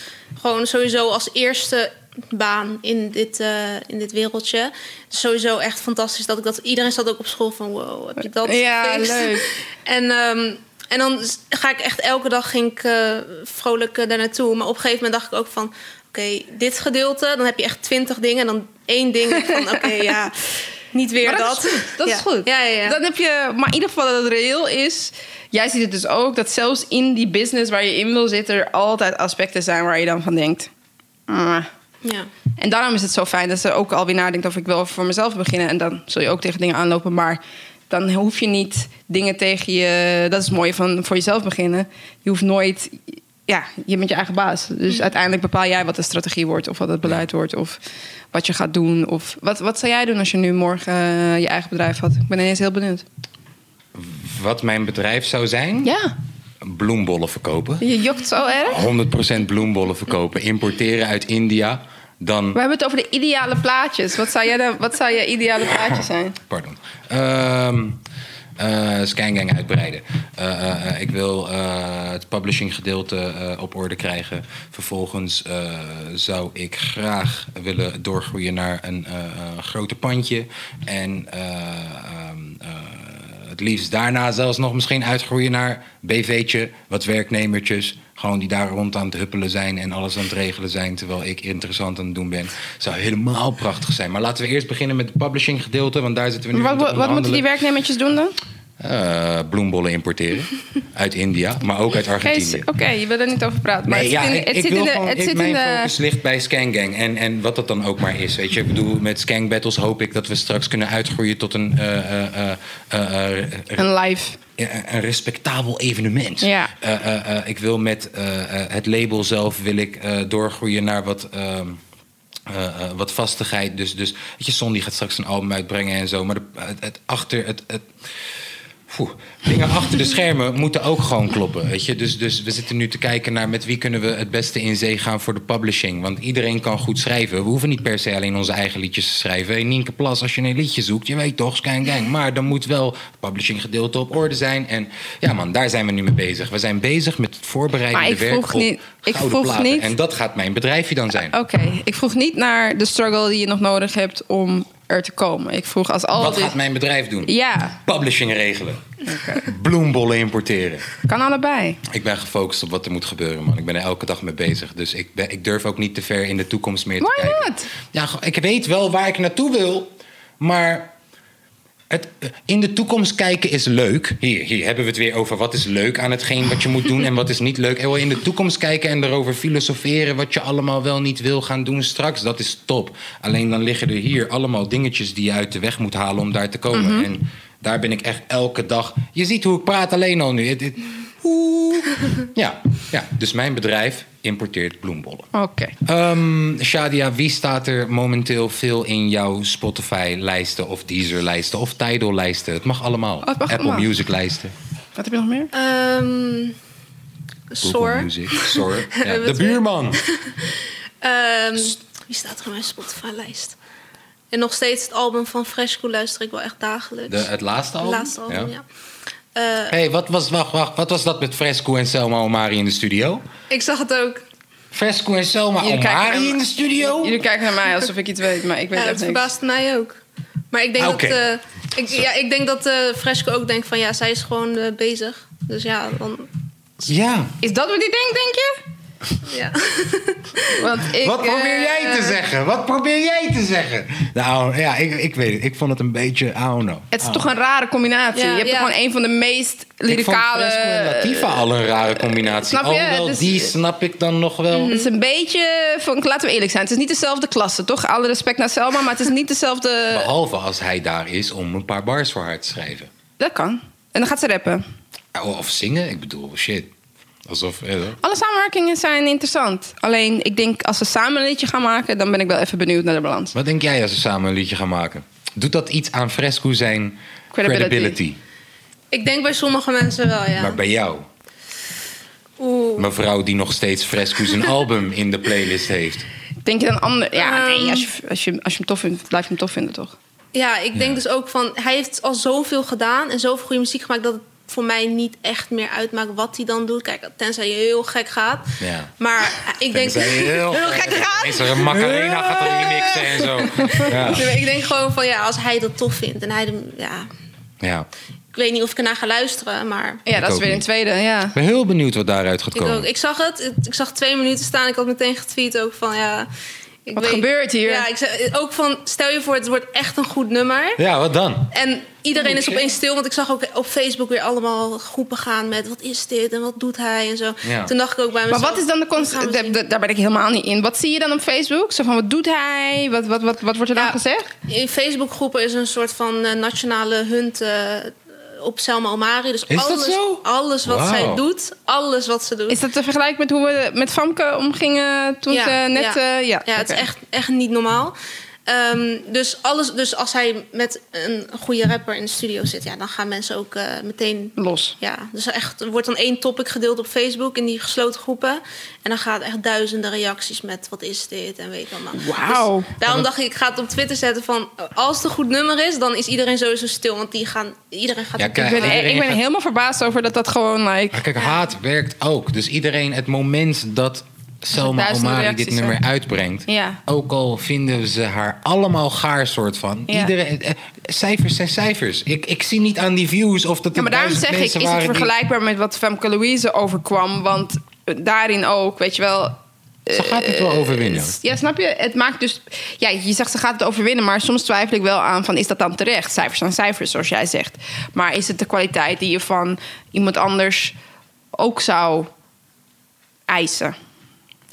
Speaker 3: gewoon sowieso als eerste baan in dit, eh, in dit wereldje. Sowieso echt fantastisch dat ik dat... Iedereen zat ook op school van wow, heb ik dat
Speaker 2: Ja,
Speaker 3: gefixt?
Speaker 2: leuk.
Speaker 3: En, ehm, en dan s- ga ik echt elke dag ging ik, eh, vrolijk eh, daar naartoe. Maar op een gegeven moment dacht ik ook van... Oké, dit gedeelte, dan heb je echt twintig dingen. En dan één ding van oké, ja, niet weer
Speaker 2: Maar
Speaker 3: dat.
Speaker 2: is goed. Dat
Speaker 3: Ja.
Speaker 2: is goed.
Speaker 3: Ja, ja, ja.
Speaker 2: Dan heb je, maar in ieder geval dat het reëel is. Jij ziet het dus ook, dat zelfs in die business waar je in wil zitten... er altijd aspecten zijn waar je dan van denkt... "Ah."
Speaker 3: ja.
Speaker 2: En daarom is het zo fijn dat ze ook alweer nadenkt of ik wil voor mezelf beginnen. En dan zul je ook tegen dingen aanlopen. Maar dan hoef je niet dingen tegen je. Dat is het mooie van voor jezelf beginnen. Je hoeft nooit. Ja, je bent je eigen baas. Dus uiteindelijk bepaal jij wat de strategie wordt. Of wat het beleid wordt. Of wat je gaat doen. Of wat, wat zou jij doen als je nu morgen eh, je eigen bedrijf had? Ik ben ineens heel benieuwd.
Speaker 1: Wat mijn bedrijf zou zijn?
Speaker 2: Ja,
Speaker 1: Bloembollen verkopen.
Speaker 2: je jokt zo erg.
Speaker 1: 100% bloembollen verkopen. Importeren uit India. Dan
Speaker 2: We hebben het over de ideale plaatjes. Wat zou, jij dan, wat zou je ideale plaatje zijn?
Speaker 1: Pardon. Ehm, eh Scangang uitbreiden. Eh, eh, eh, ik wil eh, het publishing gedeelte eh, op orde krijgen. Vervolgens eh, zou ik graag willen doorgroeien naar een eh, eh, grote pandje. En eh, ehm, eh, het liefst daarna zelfs nog misschien uitgroeien naar BV'tje, wat werknemertjes. Gewoon die daar rond aan het huppelen zijn en alles aan het regelen zijn. Terwijl ik interessant aan het doen ben. Zou helemaal prachtig zijn. Maar laten we eerst beginnen met het publishing gedeelte. Want daar zitten we nu
Speaker 2: Maar
Speaker 1: aan
Speaker 2: wat,
Speaker 1: te
Speaker 2: wat moeten die
Speaker 1: onderhandelen.
Speaker 2: werknemertjes doen dan?
Speaker 1: Eh, bloembollen importeren. uit India, maar ook uit
Speaker 2: Oké,
Speaker 1: Argentinië.
Speaker 2: Oké, je wil er niet over praten. Maar
Speaker 1: Nee,
Speaker 2: oh, het
Speaker 1: ja,
Speaker 2: zit in,
Speaker 1: ik,
Speaker 2: het
Speaker 1: ik
Speaker 2: zit
Speaker 1: wil
Speaker 2: in de.
Speaker 1: gewoon,
Speaker 2: Het
Speaker 1: ik-
Speaker 2: zit in
Speaker 1: mijn
Speaker 2: de
Speaker 1: focus ligt bij Scangang en, en wat dat dan ook maar is. Weet je, ik bedoel, met Scan Battles hoop ik dat we straks kunnen uitgroeien tot een, eh, eh, eh, eh, eh,
Speaker 2: een live.
Speaker 1: ja, een respectabel evenement.
Speaker 2: Ja.
Speaker 1: Eh, eh, eh, ik wil met eh, eh, het label zelf wil ik, eh, doorgroeien naar wat, ehm, eh, eh, wat vastigheid. Dus, dus weet je, Son die gaat straks een album uitbrengen en zo. Maar de- het, het achter. Het, het, Poeh, dingen achter de schermen moeten ook gewoon kloppen. Weet je? Dus, dus we zitten nu te kijken naar met wie kunnen we het beste in zee gaan voor de publishing. Want iedereen kan goed schrijven. We hoeven niet per se alleen onze eigen liedjes te schrijven. Hey, Nienke Plas, als je een liedje zoekt, je weet toch, scan gang. Maar dan moet wel het publishing gedeelte op orde zijn. En ja man, daar zijn we nu mee bezig. We zijn bezig met het voorbereiden
Speaker 2: Maar ik
Speaker 1: werk
Speaker 2: vroeg
Speaker 1: op
Speaker 2: niet- ik
Speaker 1: gouden
Speaker 2: vroeg
Speaker 1: platen.
Speaker 2: niet-
Speaker 1: En dat gaat mijn bedrijfje dan zijn.
Speaker 2: Oké, ik vroeg niet naar de struggle die je nog nodig hebt om er te komen. Ik vroeg als al
Speaker 1: Wat
Speaker 2: Oh, dit.
Speaker 1: gaat mijn bedrijf doen?
Speaker 2: Ja,
Speaker 1: Publishing regelen. Bloembollen importeren.
Speaker 2: kan allebei.
Speaker 1: Ik ben gefocust op wat er moet gebeuren, man. Ik ben er elke dag mee bezig. Dus ik, ben, ik durf ook niet te ver in de toekomst meer te
Speaker 2: Why
Speaker 1: kijken.
Speaker 2: not?
Speaker 1: Ja, go- ik weet wel waar ik naartoe wil, maar het, eh, in de toekomst kijken is leuk. Hier, hier hebben we het weer over wat is leuk aan hetgeen wat je moet doen en wat is niet leuk. En wel in de toekomst kijken en erover filosoferen wat je allemaal wel niet wil gaan doen straks, dat is top. Alleen dan liggen er hier allemaal dingetjes die je uit de weg moet halen om daar te komen. En daar ben ik echt elke dag. Je ziet hoe ik praat alleen al nu. Het- het- Oeh. Ja, ja, dus mijn bedrijf importeert bloembollen.
Speaker 2: Oké.
Speaker 1: Ehm, Shadia, wie staat er momenteel veel in jouw Spotify-lijsten of Deezer-lijsten of Tidal-lijsten? Het mag allemaal.
Speaker 3: Oh,
Speaker 2: het mag
Speaker 1: Apple
Speaker 2: allemaal.
Speaker 1: Music-lijsten.
Speaker 2: Wat heb je nog meer?
Speaker 3: Ehm
Speaker 1: Google
Speaker 3: Soar.
Speaker 1: Music. Sorry. Ja,
Speaker 3: Hebben we
Speaker 1: de
Speaker 3: het weer.
Speaker 1: buurman.
Speaker 3: Ehm, wie staat er op mijn Spotify-lijst? En nog steeds het album van Fresh Cool luister ik wel echt dagelijks.
Speaker 1: De, het laatste album?
Speaker 3: laatste album, ja. Eh,
Speaker 1: hey, wat, was, wacht, wacht, wat was dat met Fresco en Selma Omari in de studio?
Speaker 3: ik zag het ook.
Speaker 1: Fresco en Selma
Speaker 2: Jullie kijken
Speaker 1: Omari
Speaker 2: naar-
Speaker 1: in de studio?
Speaker 2: Jullie kijken naar mij alsof ik iets weet, maar ik weet
Speaker 3: Ja,
Speaker 2: echt
Speaker 3: dat
Speaker 2: niks.
Speaker 3: Eh, verbaast mij ook. Maar ik denk
Speaker 1: Ah, Oké.
Speaker 3: dat, eh, ik, ja, ik denk dat eh, Fresco ook denkt van ja, zij is gewoon eh, bezig. Dus ja, dan.
Speaker 1: Ja.
Speaker 2: Is dat wat hij denkt, denk je?
Speaker 3: Ja.
Speaker 2: Want ik,
Speaker 1: Wat probeer
Speaker 2: eh,
Speaker 1: jij te zeggen? Wat probeer jij te zeggen? Nou, ja, ik, ik weet het. Ik vond het een beetje, I don't know.
Speaker 2: Het is toch een rare combinatie.
Speaker 3: Ja,
Speaker 2: je hebt
Speaker 3: ja.
Speaker 2: gewoon een van de meest eh, lyricale...
Speaker 1: Ik vond Fresco en Latifa al een rare combinatie.
Speaker 2: Snap je?
Speaker 1: Alhoewel,
Speaker 2: Dus-
Speaker 1: die snap ik dan nog wel.
Speaker 2: Het is een beetje, van, laten we eerlijk zijn, het is niet dezelfde klasse, toch? Alle respect naar Selma, maar het is niet dezelfde...
Speaker 1: Behalve als hij daar is om een paar bars voor haar te schrijven. Eh,
Speaker 2: Dat kan. En dan gaat ze rappen.
Speaker 1: Of zingen, ik bedoel, shit. Alsof, eh,
Speaker 2: Alle samenwerkingen zijn interessant. Alleen, ik denk, als ze samen een liedje gaan maken, dan ben ik wel even benieuwd naar de balans.
Speaker 1: Wat denk jij als we samen een liedje gaan maken? Doet dat iets aan Fresco zijn credibility?
Speaker 2: Credibility.
Speaker 3: Ik denk bij sommige mensen wel, ja.
Speaker 1: Maar bij jou,
Speaker 3: Oeh.
Speaker 1: mevrouw die nog steeds Fresco zijn album in de playlist heeft.
Speaker 2: Denk je dan ander... Ja,
Speaker 3: Ehm.
Speaker 2: nee, als je, als, je, als je hem tof vindt, blijf je hem tof vinden, toch?
Speaker 3: Ja, ik denk dus ook van hij heeft al zoveel gedaan en zoveel goede muziek gemaakt dat het voor mij niet echt meer uitmaakt wat hij dan doet. Kijk, tenzij je heel gek gaat.
Speaker 1: Ja.
Speaker 3: Maar ik denk.
Speaker 1: Tenzij je heel-
Speaker 3: gek gaat.
Speaker 1: Is er een Macarena gaat er remixen en zo. Ja.
Speaker 3: Nee, maar Ik denk gewoon van ja, als hij dat tof vindt en hij de, ja,
Speaker 1: ja.
Speaker 3: ik weet niet of ik ernaar ga luisteren, maar
Speaker 2: Ja,
Speaker 1: Ik
Speaker 2: dat is
Speaker 1: ook
Speaker 2: weer een
Speaker 1: niet.
Speaker 2: tweede, ja.
Speaker 1: Ik ben heel benieuwd wat daaruit gaat
Speaker 3: ik,
Speaker 1: komen.
Speaker 3: ook, ik zag het, het- ik zag twee minuten staan, ik had meteen getweet ook van ja. Ik
Speaker 2: Wat gebeurt hier?
Speaker 3: Ja, ik zei, ook van stel je voor het wordt echt een goed nummer.
Speaker 1: Ja, wat dan?
Speaker 3: En iedereen is
Speaker 1: shit.
Speaker 3: opeens stil, want ik zag ook op Facebook weer allemaal groepen gaan met wat is dit en wat doet hij en zo.
Speaker 1: Ja.
Speaker 3: Toen dacht ik ook bij
Speaker 2: Maar
Speaker 3: mezelf.
Speaker 2: wat is dan de
Speaker 3: gaan
Speaker 2: const...
Speaker 3: we
Speaker 2: da-
Speaker 3: zien.
Speaker 2: da- Daar ben ik helemaal niet in. Wat zie je dan op Facebook? Zo van, wat doet hij? Wat, wat, wat, wat wordt er dan
Speaker 3: Ja.
Speaker 2: gezegd?
Speaker 3: In Facebookgroepen is een soort van eh, nationale hunt eh, op Selma Almari. Dus
Speaker 1: Is dat
Speaker 3: alles,
Speaker 1: zo?
Speaker 3: alles wat
Speaker 1: Wauw.
Speaker 3: zij doet, alles wat ze doet.
Speaker 2: Is dat te vergelijken met hoe we met Famke omgingen toen
Speaker 3: Ja,
Speaker 2: ze net...
Speaker 3: ja.
Speaker 2: eh, ja,
Speaker 3: Ja, het
Speaker 2: oké.
Speaker 3: is echt, echt niet normaal. Eh, Ehm, dus, alles, dus als hij met een goede rapper in de studio zit, ja, dan gaan mensen ook eh, meteen
Speaker 2: Los.
Speaker 3: ja, dus echt, er wordt dan één topic gedeeld op Facebook in die gesloten groepen. En dan gaat echt duizenden reacties met wat is dit en weet ik allemaal.
Speaker 2: Wauw.
Speaker 3: Dus daarom dacht ik, ik ga het op Twitter zetten van als het een goed nummer is, dan is iedereen sowieso stil. Want die gaan, iedereen gaat
Speaker 1: Ja,
Speaker 3: op-
Speaker 1: kijk,
Speaker 2: Ik ben,
Speaker 1: iedereen
Speaker 2: ik ben
Speaker 1: gaat-
Speaker 2: helemaal verbaasd over dat dat gewoon... Like,
Speaker 1: Maar kijk, haat werkt ook. Dus iedereen, het moment dat Selma
Speaker 2: duizenden
Speaker 1: Omari dit
Speaker 2: reacties
Speaker 1: nummer
Speaker 2: zijn.
Speaker 1: uitbrengt...
Speaker 2: Ja.
Speaker 1: ook al vinden ze haar allemaal gaar soort van...
Speaker 2: Ja.
Speaker 1: Iedereen, eh, cijfers zijn cijfers. Ik, ik zie niet aan die views of dat
Speaker 2: Ja, maar
Speaker 1: er
Speaker 2: daarom
Speaker 1: duizend
Speaker 2: zeg ik,
Speaker 1: mensen
Speaker 2: is het
Speaker 1: waren die-
Speaker 2: vergelijkbaar met wat Femke Louise overkwam? Want eh, daarin ook, weet je wel...
Speaker 1: Ze gaat het
Speaker 2: Eh,
Speaker 1: wel overwinnen.
Speaker 2: Ja, snap je? Het maakt dus... Ja, je zegt ze gaat het overwinnen, maar soms twijfel ik wel aan van... is dat dan terecht? Cijfers zijn cijfers, zoals jij zegt. Maar is het de kwaliteit die je van iemand anders ook zou eisen?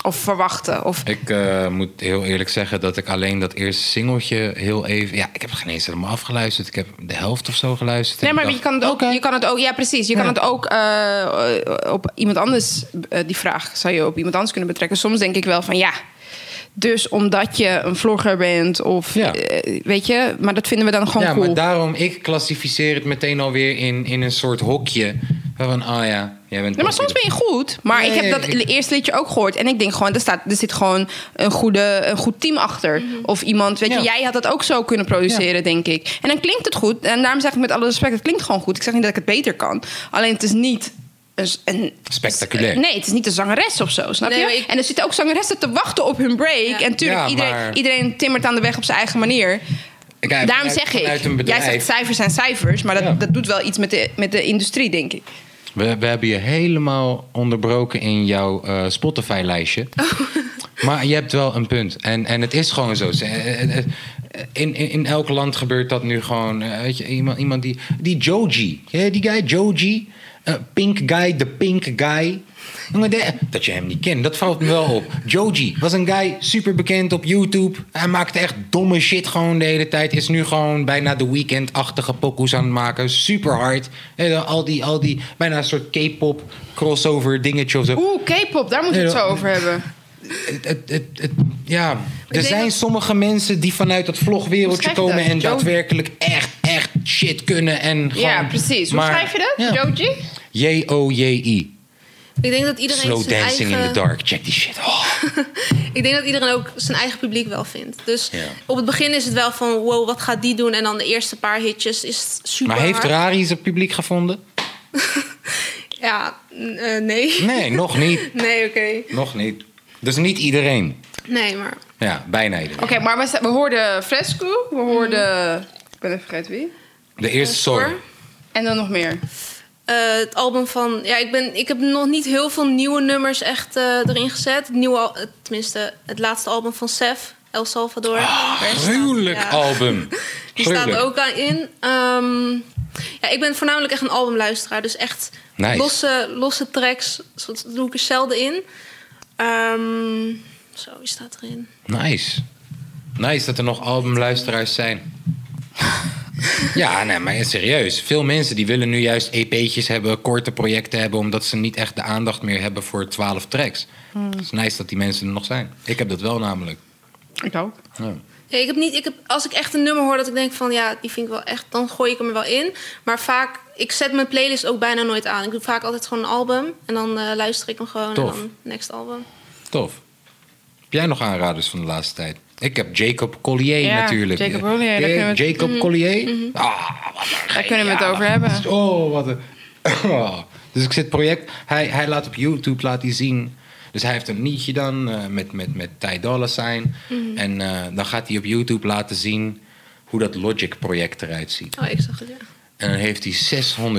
Speaker 2: Of verwachten? Of
Speaker 1: Ik eh, moet heel eerlijk zeggen dat ik alleen dat eerste singeltje heel even... Ja, ik heb geen eens helemaal afgeluisterd. Ik heb de helft of zo geluisterd.
Speaker 2: Nee,
Speaker 1: En
Speaker 2: maar
Speaker 1: ik
Speaker 2: je
Speaker 1: dacht,
Speaker 2: kan, het ook,
Speaker 1: oké.
Speaker 2: je kan het ook. Ja, precies. Je kan
Speaker 1: Ja.
Speaker 2: het ook eh, op iemand anders. eh, die vraag zou je op iemand anders kunnen betrekken. Soms denk ik wel van ja. Dus omdat je een vlogger bent of
Speaker 1: Ja.
Speaker 2: eh, weet je, maar dat vinden we dan gewoon
Speaker 1: ja,
Speaker 2: cool.
Speaker 1: maar daarom, ik klassificeer het meteen alweer in, in een soort hokje. Van, ah ja, jij bent...
Speaker 2: Nee, maar soms ben je goed. Maar ik
Speaker 1: Nee,
Speaker 2: heb dat
Speaker 1: ik-
Speaker 2: eerste liedje ook gehoord. En ik denk gewoon, er, staat, er zit gewoon een, goede, een goed team achter.
Speaker 3: Mhm.
Speaker 2: Of iemand, weet
Speaker 1: Ja.
Speaker 2: je, jij had dat ook zo kunnen produceren, denk ik. En dan klinkt het goed. En daarom zeg ik met alle respect, het klinkt gewoon goed. Ik zeg niet dat ik het beter kan. Alleen het is niet een... s- een
Speaker 1: Spectaculair.
Speaker 2: Nee, het is niet een zangeres of zo, snap
Speaker 3: Nee, maar
Speaker 2: je?
Speaker 3: ik-
Speaker 2: En er zitten ook zangeressen te wachten op hun break.
Speaker 3: Ja.
Speaker 2: En tuurlijk,
Speaker 1: Ja,
Speaker 2: iedereen,
Speaker 1: maar-
Speaker 2: iedereen timmert aan de weg op zijn eigen manier.
Speaker 1: Kijk, vanuit-
Speaker 2: Daarom zeg
Speaker 1: vanuit een
Speaker 2: ik, jij
Speaker 1: bedrijf.
Speaker 2: zegt cijfers zijn cijfers, maar dat,
Speaker 1: Ja.
Speaker 2: dat doet wel iets met de, met de industrie, denk ik.
Speaker 1: We, we hebben je helemaal onderbroken in jouw eh, Spotify-lijstje.
Speaker 2: Oh.
Speaker 1: Maar je hebt wel een punt. En, en het is gewoon zo. Ze- eh, eh, eh, In, in, in elk land gebeurt dat nu gewoon. eh, Weet je, iemand, iemand die. Die Joji. Ken je Die guy, Joji. Eh, pink guy, de pink guy. Jongen, de- dat je hem niet kent, dat valt me wel op. Joji was een guy, super bekend op YouTube. Hij maakte echt domme shit gewoon de hele tijd. Is nu gewoon bijna de weekend-achtige pokoes aan het maken. Super hard. En dan al die, al die bijna een soort K-pop crossover dingetje of zo.
Speaker 2: Oeh, K-pop, daar moeten we het
Speaker 1: Nee,
Speaker 2: zo
Speaker 1: dat-
Speaker 2: over hebben.
Speaker 1: Het- het- het- het- ja, er
Speaker 3: denk
Speaker 1: zijn
Speaker 3: dat-
Speaker 1: sommige mensen die vanuit dat
Speaker 2: Hoe
Speaker 1: vlogwereldje
Speaker 2: schrijf je
Speaker 1: komen
Speaker 2: dat?
Speaker 1: en
Speaker 2: Jo-
Speaker 1: daadwerkelijk echt, echt shit kunnen. En gewoon,
Speaker 2: ja, precies. Hoe
Speaker 1: maar-
Speaker 2: schrijf je dat?
Speaker 1: Ja.
Speaker 2: Joji?
Speaker 1: J-O-J-I.
Speaker 3: Ik denk dat iedereen
Speaker 1: Slow
Speaker 3: zijn
Speaker 1: dancing
Speaker 3: eigen,
Speaker 1: in the dark. Check die shit. Oh.
Speaker 3: Ik denk dat iedereen ook zijn eigen publiek wel vindt. Dus
Speaker 1: Ja.
Speaker 3: op het begin is het wel van wow, wat gaat die doen? En dan de eerste paar hitjes is het super.
Speaker 1: Maar heeft
Speaker 3: hard.
Speaker 1: Rari zijn publiek gevonden?
Speaker 3: Ja, n- eh, nee.
Speaker 1: Nee, nog niet.
Speaker 3: Nee, oké.
Speaker 1: Nog niet. Dus niet iedereen.
Speaker 3: Nee, maar
Speaker 1: Ja, bijna iedereen.
Speaker 2: Oké, maar we, we hoorden Fresco, we hoorden... Ik ben even vergeten wie.
Speaker 1: De eerste sorry.
Speaker 3: hoor.
Speaker 2: En dan nog meer.
Speaker 3: Eh, het album van. Ja, ik, ben, ik heb nog niet heel veel nieuwe nummers echt eh, erin gezet. Het Nieuwe, al- eh, tenminste, het laatste album van Sef, El Salvador. Daar staat-
Speaker 1: Ah, Gruwelijk
Speaker 3: ja,
Speaker 1: album.
Speaker 3: Die staat
Speaker 1: Gruwelijk.
Speaker 3: er ook aan in. Ehm, ja, ik ben voornamelijk echt een albumluisteraar. Dus echt
Speaker 1: Nice.
Speaker 3: losse, losse tracks. zo- Dat doe ik er zelden in. Ehm, zo, die staat erin.
Speaker 1: Nice. Nice dat er nog albumluisteraars zijn. ja, nee, maar serieus. Veel mensen die willen nu juist EP'tjes hebben, korte projecten hebben, omdat ze niet echt de aandacht meer hebben voor 12 tracks.
Speaker 3: Hmm.
Speaker 1: Het is nice dat die mensen er nog zijn. Ik heb dat wel namelijk.
Speaker 2: Ik ook.
Speaker 1: Ja.
Speaker 3: Ja, ik heb niet, ik heb, als ik echt een nummer hoor dat ik denk van ja, die vind ik wel echt, dan gooi ik hem er wel in. Maar vaak, ik zet mijn playlist ook bijna nooit aan. Ik doe vaak altijd gewoon een album en dan eh, luister ik hem gewoon
Speaker 1: Tof.
Speaker 3: en dan next album.
Speaker 1: Tof. Heb jij nog aanraders van de laatste tijd? Ik heb Jacob Collier
Speaker 2: Ja,
Speaker 1: natuurlijk.
Speaker 2: Jacob Collier, daar
Speaker 1: Ken je
Speaker 2: kunnen we- Mhm.
Speaker 1: Jacob Collier? Ah,
Speaker 2: Daar kunnen we het over hebben.
Speaker 1: Oh, wat een... Oh. Dus ik zit project... Hij, hij laat op YouTube laat hij zien... Dus hij heeft een nietje dan eh, met, met, met Ty Dolla Sign.
Speaker 2: Mhm.
Speaker 1: En eh, dan gaat hij op YouTube laten zien hoe dat Logic-project eruit ziet.
Speaker 3: Oh, ik zag het, ja.
Speaker 1: En dan heeft hij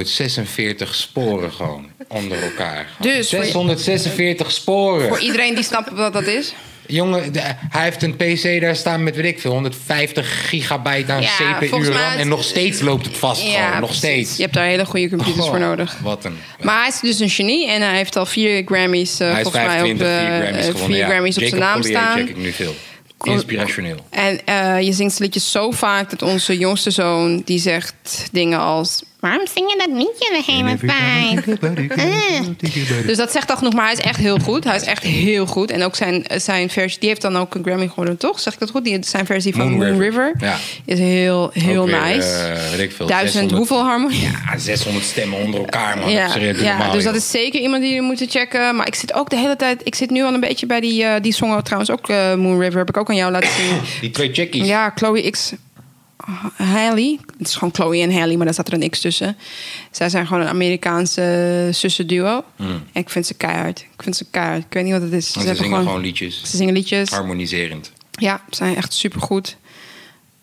Speaker 1: 646 sporen gewoon onder elkaar.
Speaker 2: Dus voor je-
Speaker 1: 646 sporen.
Speaker 2: Voor iedereen die snapt wat dat is.
Speaker 1: Jongen, de- hij heeft een PC daar staan met, weet ik veel, 150 gigabyte aan
Speaker 2: Ja,
Speaker 1: CPU
Speaker 2: volgens mij
Speaker 1: RAM.
Speaker 2: het-
Speaker 1: En nog steeds loopt het vast gewoon. Nog
Speaker 2: precies.
Speaker 1: steeds.
Speaker 2: Je hebt daar hele goede computers voor
Speaker 1: Goh,
Speaker 2: nodig.
Speaker 1: Wat een...
Speaker 2: Maar hij is dus een genie en hij heeft al vier Grammys, eh,
Speaker 1: hij is
Speaker 2: volgens mij, op,
Speaker 1: 25, vier
Speaker 2: eh,
Speaker 1: Grammys
Speaker 2: eh,
Speaker 1: gewonnen.
Speaker 2: vier
Speaker 1: ja.
Speaker 2: Grammys op
Speaker 1: Jacob
Speaker 2: zijn naam
Speaker 1: Collier
Speaker 2: staan.
Speaker 1: check ik nu veel. Inspirationeel.
Speaker 2: En eh, je zingt het liedje zo vaak dat onze jongste zoon die zegt dingen als
Speaker 4: Waarom zing je dat liedje de hele tijd?
Speaker 2: Dus dat zegt al genoeg, maar hij is echt heel goed. Hij is echt heel goed. En ook zijn, zijn versie, die heeft dan ook een Grammy gewonnen, toch? Zeg ik dat goed? Die, zijn versie van
Speaker 1: Moon
Speaker 2: Moon,
Speaker 1: River.
Speaker 2: River,
Speaker 1: Ja.
Speaker 2: is heel, heel
Speaker 1: Ook weer,
Speaker 2: nice.
Speaker 1: eh, weet ik veel,
Speaker 2: Duizend,
Speaker 1: 600.
Speaker 2: hoeveel harmonie?
Speaker 1: Ja, 600 stemmen onder elkaar, man. dat
Speaker 2: Ja,
Speaker 1: is serieus
Speaker 2: ja,
Speaker 1: normaal,
Speaker 2: dus dat
Speaker 1: joh.
Speaker 2: is zeker iemand die jullie moeten checken. Maar ik zit ook de hele tijd... Ik zit nu al een beetje bij die, eh, die song trouwens ook. eh, Moon River heb ik ook aan jou laten zien.
Speaker 1: Die twee checkies.
Speaker 2: Ja, Chloe X. Haley. Het is gewoon Chloe en Haley, maar daar staat er een X tussen. Zij zijn gewoon een Amerikaanse zussenduo. En ik vind ze keihard. Ik vind ze keihard. Ik weet niet wat het is.
Speaker 1: Hmm. Want ze
Speaker 2: hebben
Speaker 1: zingen gewoon liedjes.
Speaker 2: Ze zingen liedjes.
Speaker 1: Harmoniserend.
Speaker 2: Ja, ze zijn echt supergoed.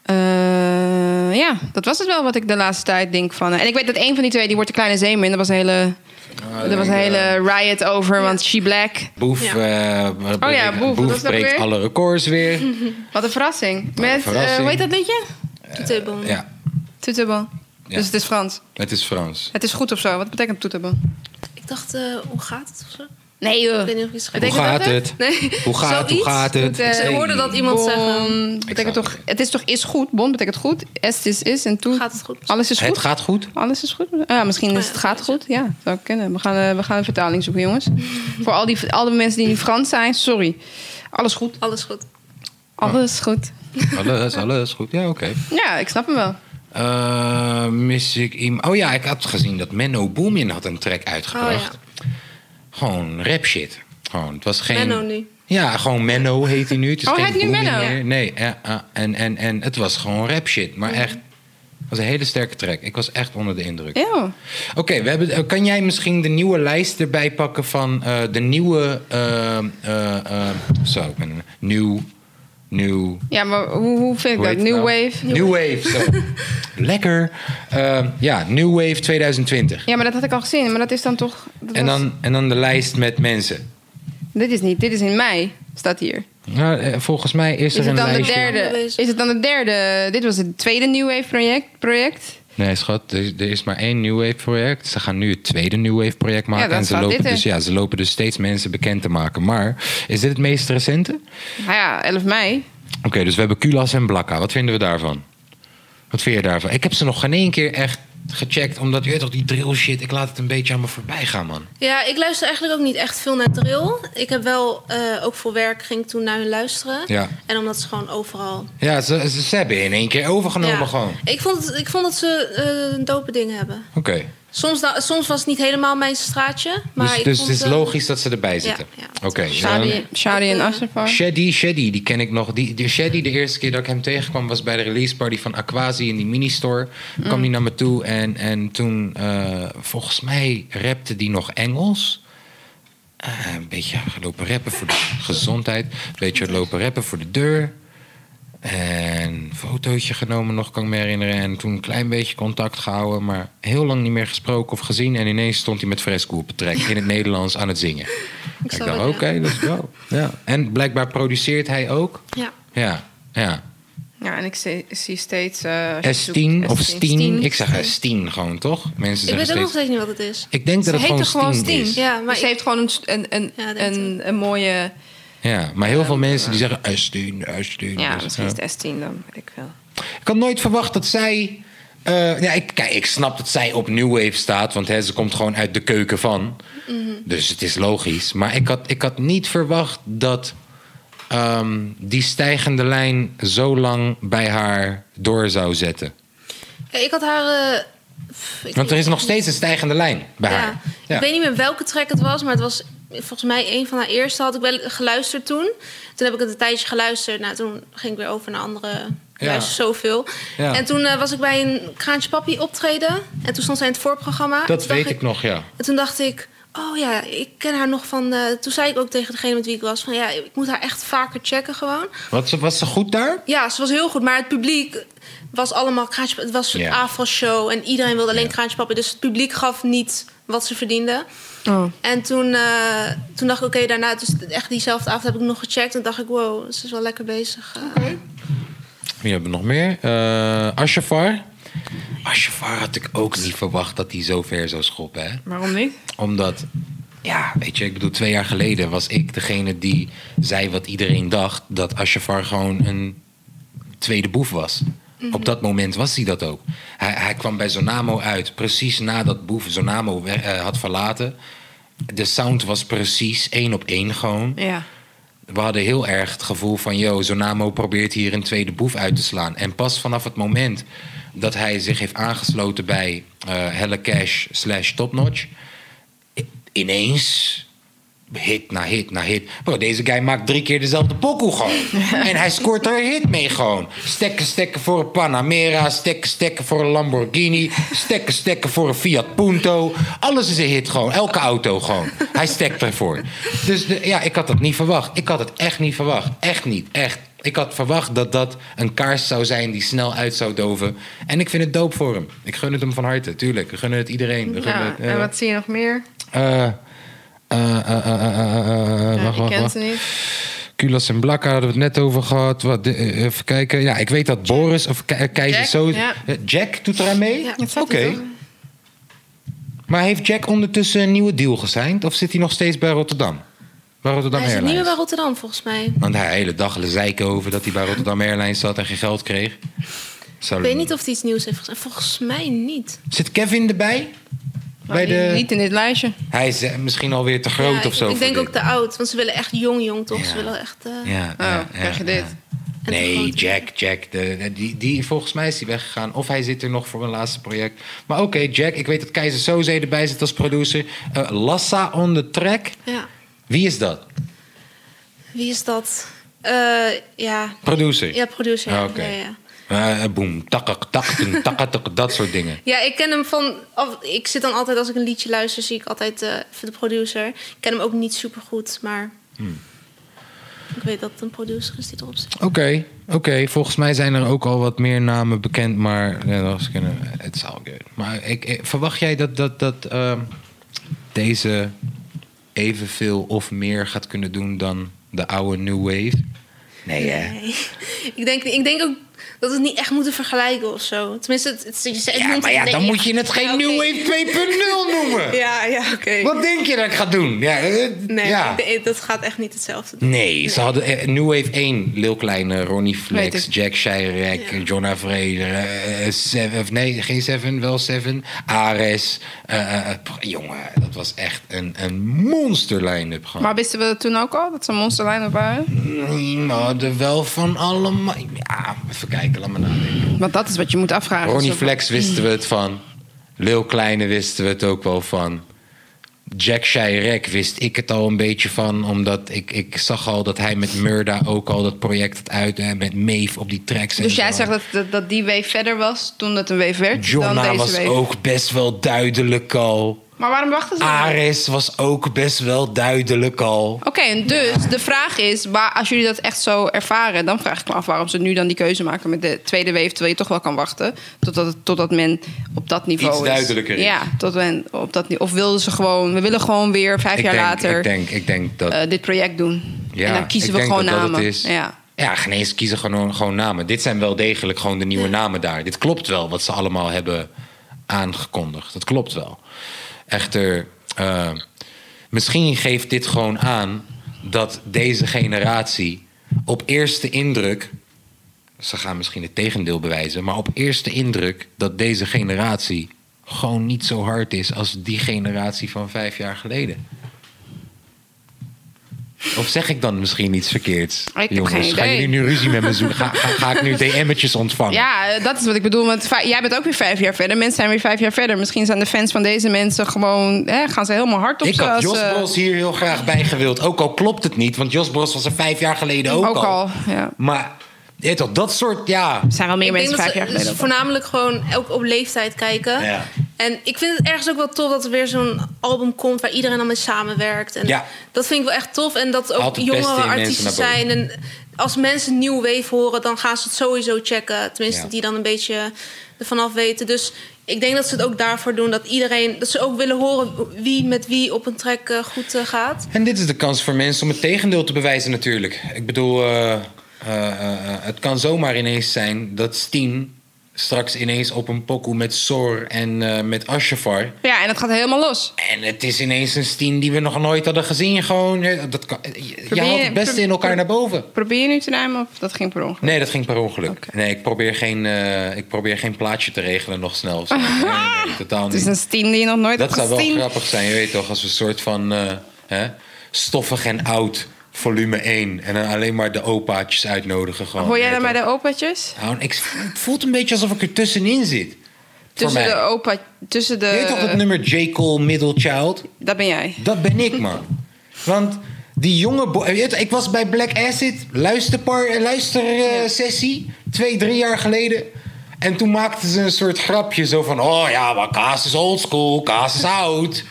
Speaker 2: Eh, ja, dat was het wel wat ik de laatste tijd denk van. eh, En ik weet dat een van die twee, die wordt de kleine zeeman. Er was een hele,
Speaker 1: Nou,
Speaker 2: er was een hele riot over, want she black.
Speaker 1: Boef,
Speaker 3: Ja.
Speaker 1: eh,
Speaker 2: Oh ja,
Speaker 1: breekt-
Speaker 2: Boef, wat was dat
Speaker 1: breekt
Speaker 2: weer?
Speaker 1: alle records weer.
Speaker 2: Wat een verrassing. Met, eh,
Speaker 1: verrassing.
Speaker 2: hoe heet dat liedje?
Speaker 3: Toetebon.
Speaker 1: Eh, Ja,
Speaker 2: Toeterbal.
Speaker 1: Ja.
Speaker 2: Dus het is Frans.
Speaker 1: het is Frans.
Speaker 2: Het is goed of zo. Wat betekent toeterbal?
Speaker 3: Ik dacht, eh, hoe gaat het of zo?
Speaker 2: Nee, eh, joh.
Speaker 3: Ik weet niet of ik iets
Speaker 1: Hoe
Speaker 2: Betekent dat
Speaker 1: gaat
Speaker 2: het?
Speaker 1: het?
Speaker 3: Nee.
Speaker 1: Hoe gaat, het? hoe
Speaker 3: Zoiets.
Speaker 1: gaat het?
Speaker 2: Moet, eh,
Speaker 3: Ze
Speaker 1: Hey.
Speaker 3: hoorden dat iemand zeggen.
Speaker 2: Bon betekent
Speaker 1: zou-
Speaker 2: toch, het is toch is goed? Bon betekent goed. Est is is. En toe.
Speaker 3: Gaat het goed? Oh
Speaker 2: Alles is
Speaker 1: Het
Speaker 2: goed.
Speaker 1: gaat goed.
Speaker 2: Alles is goed. Ja, misschien is het gaat goed. Ja, dat zou ik kunnen. We gaan, eh, we gaan een vertaling zoeken, jongens. Voor al die, al die mensen die in Frans zijn, sorry. Alles
Speaker 1: Oh.
Speaker 2: goed.
Speaker 3: Alles goed.
Speaker 2: Alles goed.
Speaker 1: Alles, alles goed. Ja, oké.
Speaker 2: Ja, ik snap hem wel.
Speaker 1: Eh, mis ik iemand? Oh ja, ik had gezien dat Menno Boomin had een track uitgebracht.
Speaker 2: Oh
Speaker 1: Gewoon rap shit. Gewoon, het was geen...
Speaker 3: Menno nu.
Speaker 1: Ja, gewoon Menno heet hij nu. Het is
Speaker 2: Oh,
Speaker 1: geen
Speaker 2: hij heet nu
Speaker 1: Boomin
Speaker 2: Menno?
Speaker 1: meer. Nee, eh, ah, en, en, en het was gewoon rap shit. Maar echt, het was een hele sterke track. Ik was echt onder de indruk.
Speaker 2: Ja.
Speaker 1: Oké, we hebben- eh, kan jij misschien de nieuwe lijst erbij pakken van eh, de nieuwe... eh, eh, eh, zo, ik ben... Nieuw, nieuw...
Speaker 2: ja, maar hoe, hoe vind ik
Speaker 1: Hoe
Speaker 2: dat?
Speaker 1: heet
Speaker 2: New
Speaker 1: het nou?
Speaker 2: Wave.
Speaker 1: New Wave. zo. Lekker. Eh, ja, New Wave 2020.
Speaker 2: Ja, maar dat had ik al gezien. Maar dat is dan toch... dat
Speaker 1: En
Speaker 2: was-
Speaker 1: dan, en dan de lijst met mensen.
Speaker 2: dit is niet. Dit is in mei. Staat hier.
Speaker 1: Nou, eh, volgens mij is,
Speaker 2: Is
Speaker 1: er een
Speaker 2: het dan de
Speaker 1: lijstje.
Speaker 2: derde? Is het dan de derde? Dit was het tweede New Wave project. project.
Speaker 1: Nee, schat, er, er is maar één New Wave project. Ze gaan nu het tweede New Wave project maken.
Speaker 2: dat
Speaker 1: en ze
Speaker 2: staat
Speaker 1: lopen,
Speaker 2: dit in.
Speaker 1: dus, ja, ze lopen dus steeds mensen bekend te maken. Maar is dit het meest recente?
Speaker 2: Nou ja, 11 mei.
Speaker 1: Oké, dus we hebben Kulas en Blakka. Wat vinden we daarvan? Wat vind je daarvan? Ik heb ze nog geen één keer echt gecheckt. Omdat, je weet toch, die drill shit. Ik laat het een beetje aan me voorbij gaan, man.
Speaker 3: Ja, ik luister eigenlijk ook niet echt veel naar drill. Ik heb wel, eh, ook voor werk ging ik toen naar hun luisteren.
Speaker 1: Ja.
Speaker 3: En omdat ze gewoon overal...
Speaker 1: Ja, ze, ze, ze hebben in één keer overgenomen
Speaker 3: Ja.
Speaker 1: gewoon.
Speaker 3: Ik vond, het- ik vond dat ze eh, dope dingen hebben.
Speaker 1: Oké,
Speaker 3: Soms, da- soms was het niet helemaal mijn straatje. Maar
Speaker 1: dus,
Speaker 3: ik
Speaker 1: dus
Speaker 3: vond,
Speaker 1: het is
Speaker 3: eh,
Speaker 1: logisch dat ze erbij zitten.
Speaker 3: ja. Dus
Speaker 1: Oké, ehm,
Speaker 2: Shadi, Shadi en Asafar.
Speaker 1: Shady, Shady, die ken ik nog. Die, die Shady, de eerste keer dat ik hem tegenkwam, was bij de release party van Aquasi in die mini-store.
Speaker 3: Mm.
Speaker 1: Kwam die naar me toe en, en toen, eh, volgens mij, rapte die nog Engels. Eh, een beetje lopen rappen voor de gezondheid. Een beetje lopen rappen voor de deur. En een fotootje genomen nog, kan ik me herinneren. En toen een klein beetje contact gehouden, maar heel lang niet meer gesproken of gezien. En ineens stond hij met fresco op het trek in het Nederlands aan het zingen. Ik,
Speaker 3: snap
Speaker 1: dacht,
Speaker 3: het,
Speaker 1: oké,
Speaker 3: ja.
Speaker 1: let's go. Ja. En blijkbaar produceert hij ook.
Speaker 3: Ja.
Speaker 1: Ja, ja.
Speaker 2: Ja, en ik zie, zie steeds... eh, als je
Speaker 1: S10
Speaker 2: zoekt-
Speaker 1: of
Speaker 2: S10.
Speaker 1: Steen. Ik zeg S10 gewoon, toch? Mensen
Speaker 3: Ik
Speaker 1: zeggen
Speaker 3: weet ook
Speaker 1: steeds...
Speaker 3: nog steeds niet wat het is.
Speaker 1: Ik denk dat het
Speaker 2: Ze heet
Speaker 1: gewoon
Speaker 2: toch gewoon
Speaker 1: Steen
Speaker 2: Steen?
Speaker 1: is.
Speaker 3: Ja, maar
Speaker 2: dus ze
Speaker 3: ik-
Speaker 2: heeft gewoon een, een, een,
Speaker 3: Ja, denk
Speaker 2: een, een mooie...
Speaker 1: Ja, maar heel veel mensen die zeggen S10, S10.
Speaker 2: Ja,
Speaker 1: Dus,
Speaker 2: misschien is het S10 dan, weet ik wel.
Speaker 1: Ik had nooit verwacht dat zij. eh, ja, ik, kijk, ik snap dat zij op New Wave staat, want hè, ze komt gewoon uit de keuken van.
Speaker 3: Mhm.
Speaker 1: Dus het is logisch. Maar ik had, ik had niet verwacht dat ehm, die stijgende lijn zo lang bij haar door zou zetten.
Speaker 3: Ja, ik had haar... eh, pff, ik
Speaker 1: Want er is nog steeds een stijgende lijn bij
Speaker 3: Ja.
Speaker 1: haar. Ja.
Speaker 3: Ik weet niet meer welke track het was, maar het was volgens mij een van haar eerste. Had ik wel geluisterd toen. Toen heb ik het een tijdje geluisterd. Nou, toen ging ik weer over naar andere. Ik
Speaker 1: Ja.
Speaker 3: luister zoveel.
Speaker 1: Ja.
Speaker 3: En toen eh, was ik bij een Kraantje Papi optreden. En toen stond zij in het voorprogramma. En
Speaker 1: Dat
Speaker 3: toen dacht
Speaker 1: weet ik nog, ja.
Speaker 3: En toen dacht ik, oh ja, ik ken haar nog van... eh, toen zei ik ook tegen degene met wie ik was van... ja, ik moet haar echt vaker checken gewoon.
Speaker 1: Wat, ze- was ze goed daar?
Speaker 3: Ja, ze was heel goed, maar het publiek was allemaal kraantje. Het was een
Speaker 1: Ja.
Speaker 3: afro-show en iedereen wilde alleen
Speaker 1: Ja.
Speaker 3: kraantje pappen. Dus het publiek gaf niet wat ze verdiende.
Speaker 2: Oh.
Speaker 3: En toen, eh, toen dacht ik, oké, daarna, dus echt diezelfde avond heb ik nog gecheckt. En dacht ik, wow, ze is wel lekker bezig. eh.
Speaker 1: Wie hebben we nog meer? Eh Ashafar. Ashafar had ik ook niet verwacht dat hij zo ver zou schoppen, hè?
Speaker 2: Waarom niet?
Speaker 1: Omdat, ja, weet je, ik bedoel, twee jaar geleden was ik degene die zei wat iedereen dacht: dat Ashafar gewoon een tweede boef was. Op dat moment was hij dat ook. Hij, hij kwam bij Zonamo uit, precies nadat Boef Zonamo we- eh, had verlaten. De sound was precies één op één gewoon.
Speaker 2: Ja.
Speaker 1: We hadden heel erg het gevoel van... yo, Zonamo probeert hier een tweede boef uit te slaan. En pas vanaf het moment dat hij zich heeft aangesloten bij eh, Helle Cash slash Topnotch... i- ineens hit na hit na hit. Bro, deze guy maakt drie keer dezelfde pokoe gewoon. en hij scoort er een hit mee gewoon. Stekken, stekken voor een Panamera. Stekken, stekken voor een Lamborghini. Stekken, stekken voor een Fiat Punto. Alles is een hit gewoon. Elke auto gewoon. Hij stekt ervoor. Dus de- ja, ik had dat niet verwacht. Ik had het echt niet verwacht. Echt niet. Echt. Ik had verwacht dat dat een kaars zou zijn die snel uit zou doven. En ik vind het doop voor hem. Ik gun het hem van harte, tuurlijk. We gunnen het iedereen. We gunnen
Speaker 2: ja.
Speaker 1: het, eh,
Speaker 2: En wat zie je nog meer?
Speaker 1: eh, eh, eh, eh, eh, eh, eh,
Speaker 2: Ja,
Speaker 1: Wacht,
Speaker 2: ik
Speaker 1: wacht,
Speaker 2: ken
Speaker 1: wacht.
Speaker 2: ze niet.
Speaker 1: Kulas en Blakka hadden we het net over gehad. Wat, de- eh, even kijken. Ja, ik weet dat Boris of Ke- eh, Keizer
Speaker 2: Jack,
Speaker 1: zo...
Speaker 2: ja.
Speaker 1: Eh, Jack doet eraan mee?
Speaker 3: Ja,
Speaker 2: dat
Speaker 1: Oké.
Speaker 2: staat er toch?
Speaker 1: Maar heeft Jack ondertussen een nieuwe deal gesigned? Of zit hij nog steeds bij Rotterdam? Bij Rotterdam
Speaker 3: Hij zit niet
Speaker 1: Airlines?
Speaker 3: meer bij Rotterdam, volgens mij.
Speaker 1: Want hij hele dag zeiken over dat hij bij Rotterdam Airlines zat en geen geld kreeg. Zou-
Speaker 3: Ik weet niet of hij iets nieuws heeft gezegd. Volgens mij niet.
Speaker 1: Zit Kevin erbij? bij
Speaker 2: Nou,
Speaker 1: de...
Speaker 2: niet- Niet in dit lijstje.
Speaker 1: Hij is eh, misschien alweer te groot
Speaker 3: Ja, ik-
Speaker 1: of zo.
Speaker 3: Ik
Speaker 1: voor
Speaker 3: denk
Speaker 1: dit.
Speaker 3: ook te oud, want ze willen echt jong, jong toch?
Speaker 1: Ja.
Speaker 3: Ze willen echt. eh,
Speaker 1: Ja,
Speaker 2: Oh,
Speaker 1: ja,
Speaker 2: krijg je
Speaker 1: ja,
Speaker 2: dit.
Speaker 1: ja.
Speaker 3: En de
Speaker 1: Nee,
Speaker 3: grote.
Speaker 1: Jack, Jack. De, de- die, die, volgens mij is hij weggegaan. Of hij zit er nog voor een laatste project. Maar oké, Jack. Ik weet dat Keizer Soze erbij zit als producer. Eh, Lassa on the track.
Speaker 3: ja.
Speaker 1: Wie is dat?
Speaker 3: Wie is dat? Eh, ja.
Speaker 1: Producer?
Speaker 3: Ja, producer. ja.
Speaker 1: Ah, oké.
Speaker 3: Ja, ja.
Speaker 1: Eh, boem, takak, takten, takatuk, dat soort dingen.
Speaker 3: Ja, ik ken hem van. of- ik zit dan altijd als ik een liedje luister, zie ik altijd eh, even de producer. Ik ken hem ook niet super goed, maar.
Speaker 1: Hmm.
Speaker 3: Ik weet dat het een producer is die erop zit.
Speaker 1: Oké, oké. Volgens mij zijn er ook al wat meer namen bekend, maar ja, dat is kunnen. Het is all good. Maar ik, ik- verwacht jij dat, dat, dat ehm, deze evenveel of meer gaat kunnen doen dan de oude New Wave? Nee, hè?
Speaker 3: Nee. ik, denk, ik denk ook dat we het niet echt moeten vergelijken of zo. Tenminste, het, het, je zegt-
Speaker 1: Ja,
Speaker 3: noemt
Speaker 1: maar
Speaker 3: het-
Speaker 1: ja,
Speaker 3: nee,
Speaker 1: dan
Speaker 3: ja.
Speaker 1: moet je het geen
Speaker 3: Ja, oké.
Speaker 1: New Wave 2.0 noemen.
Speaker 3: Ja, ja, oké.
Speaker 1: Wat denk je dat ik ga doen? Ja, eh,
Speaker 3: Nee,
Speaker 1: ja.
Speaker 3: ik- dat gaat echt niet hetzelfde. doen.
Speaker 1: Nee, ze hadden eh, New Wave 1, Lil Kleine, Ronnie Flex,
Speaker 2: Weet ik.
Speaker 1: Jack Shirek,
Speaker 3: Ja.
Speaker 1: Jonna Vreder, eh, eh, Seven, of nee, geen Seven, wel Seven, Ares. eh, eh, pff, jongen, dat was echt een, een monster line-up gewoon.
Speaker 2: Maar wisten we dat toen ook al? Dat ze een monsterlijn op waren?
Speaker 1: Nee, maar er wel van allemaal... Ja, even kijken, laat me nadenken.
Speaker 2: Want dat is wat je moet afvragen. Dus-
Speaker 1: Ronnie
Speaker 2: Zo-
Speaker 1: Flex wisten we het van. Lil Kleine wisten we het ook wel van. Jack Shirek wist ik het al een beetje van. Omdat ik, ik zag al dat hij met Murda ook al dat project had uit. En met Maeve op die tracks. en
Speaker 2: Dus jij
Speaker 1: zo.
Speaker 2: zegt dat, dat, dat die wave verder was toen het een wave werd dan
Speaker 1: Jonna
Speaker 2: deze
Speaker 1: was
Speaker 2: wave.
Speaker 1: ook best wel duidelijk al.
Speaker 2: Maar waarom wachten ze? dan?
Speaker 1: Ares was ook best wel duidelijk al.
Speaker 2: Oké, en dus de vraag is, waar, als jullie dat echt zo ervaren, dan vraag ik me af waarom ze nu dan die keuze maken met de tweede wave, terwijl je toch wel kan wachten totdat, het- totdat men op dat niveau
Speaker 1: Iets
Speaker 2: is.
Speaker 1: duidelijker is.
Speaker 2: Ja, tot men op dat niveau. Of wilden ze gewoon, we willen gewoon weer vijf
Speaker 1: Ik
Speaker 2: jaar
Speaker 1: denk,
Speaker 2: later
Speaker 1: Ik denk, ik denk dat...
Speaker 2: eh, dit project doen.
Speaker 1: Ja,
Speaker 2: en dan kiezen
Speaker 1: ik
Speaker 2: we
Speaker 1: denk
Speaker 2: gewoon
Speaker 1: dat dat het
Speaker 2: namen.
Speaker 1: is.
Speaker 2: Ja.
Speaker 1: Ja, geen eens kiezen gewoon, gewoon namen. Dit zijn wel degelijk gewoon de nieuwe namen daar. Dit klopt wel wat ze allemaal hebben aangekondigd. Dat klopt wel. Echter, eh, misschien geeft dit gewoon aan dat deze generatie op eerste indruk. Ze gaan misschien het tegendeel bewijzen, maar op eerste indruk dat deze generatie gewoon niet zo hard is als die generatie van vijf jaar geleden. Of zeg ik dan misschien iets verkeerds?
Speaker 2: heb
Speaker 1: Jongens,
Speaker 2: geen
Speaker 1: gaan
Speaker 2: idee.
Speaker 1: jullie nu ruzie met me zoeken? Ga, ga, ga ik nu DM'tjes ontvangen?
Speaker 2: ja, eh, dat is wat ik bedoel. Want vij- jij bent ook weer vijf jaar verder. Mensen zijn weer vijf jaar verder. Misschien zijn de fans van deze mensen gewoon... Hè, gaan ze helemaal hard op eh,
Speaker 1: Ik
Speaker 2: ze
Speaker 1: had
Speaker 2: als
Speaker 1: Jos
Speaker 2: ze-
Speaker 1: Bros hier heel graag bij gewild. Ook al klopt het niet, want Jos Bros was er vijf jaar geleden ook,
Speaker 2: Ook al, ja.
Speaker 1: Maar je weet toch, dat soort, ja.
Speaker 2: Er zijn wel meer
Speaker 3: Ik denk
Speaker 2: mensen vijf
Speaker 3: dat ze
Speaker 2: jaar geleden.
Speaker 3: dus voornamelijk gewoon ook op leeftijd kijken.
Speaker 1: Ja.
Speaker 3: En ik vind het ergens ook wel tof dat er weer zo'n album komt waar iedereen dan mee samenwerkt. En
Speaker 1: Ja.
Speaker 3: Dat vind ik wel echt tof. En dat ook
Speaker 1: Altijd het beste
Speaker 3: jongere
Speaker 1: in
Speaker 3: artiesten
Speaker 1: mensen naar
Speaker 3: zijn. En als mensen New Wave horen, dan gaan ze het sowieso checken. Tenminste,
Speaker 1: Ja.
Speaker 3: die dan een beetje ervan af weten. Dus ik denk dat ze het ook daarvoor doen. Dat iedereen, dat ze ook willen horen wie met wie op een track eh, goed eh, gaat.
Speaker 1: En dit is de kans voor mensen om het tegendeel te bewijzen natuurlijk. Ik bedoel, eh, eh, eh, eh, het kan zomaar ineens zijn dat Steen straks ineens op een pokoe met Sor en eh, met Ashafar.
Speaker 2: Ja, en het gaat helemaal los.
Speaker 1: En het is ineens een team die we nog nooit hadden gezien. Gewoon, eh, dat kan, je- je
Speaker 2: Probeer-
Speaker 1: haalt het beste
Speaker 2: pro-
Speaker 1: in elkaar naar
Speaker 2: pro-
Speaker 1: boven.
Speaker 2: Probeer je nu te rijmen of dat ging per ongeluk?
Speaker 1: Nee, dat ging per ongeluk.
Speaker 2: Oké.
Speaker 1: Nee, ik probeer, geen, eh, ik probeer geen plaatje te regelen nog snel. of zo. Nee, nee, nee, totaal
Speaker 2: Het is
Speaker 1: niet.
Speaker 2: een team die je nog nooit
Speaker 1: Dat
Speaker 2: hebt
Speaker 1: zou wel
Speaker 2: gezien.
Speaker 1: grappig zijn, je weet toch, als we een soort van eh, hè, stoffig en oud volume 1 en dan alleen maar de opaatjes uitnodigen. Gewoon,
Speaker 2: Hoor jij
Speaker 1: weet
Speaker 2: dan bij
Speaker 1: toch?
Speaker 2: de opatjes?
Speaker 1: Nou, ik, het voelt een beetje alsof ik er tussenin zit.
Speaker 2: Tussen
Speaker 1: voor
Speaker 2: de
Speaker 1: mij.
Speaker 2: opa... Tussen
Speaker 1: Je weet toch dat
Speaker 2: de...
Speaker 1: nummer J. Cole, Middle Child?
Speaker 2: Dat ben jij.
Speaker 1: Dat ben ik, man. Want die jonge... bo- je weet, Ik was bij Black Acid, luisterpar, luistersessie, twee, drie jaar geleden. En toen maakten ze een soort grapje zo van... Oh ja, maar kaas is oldschool, kaas is oud.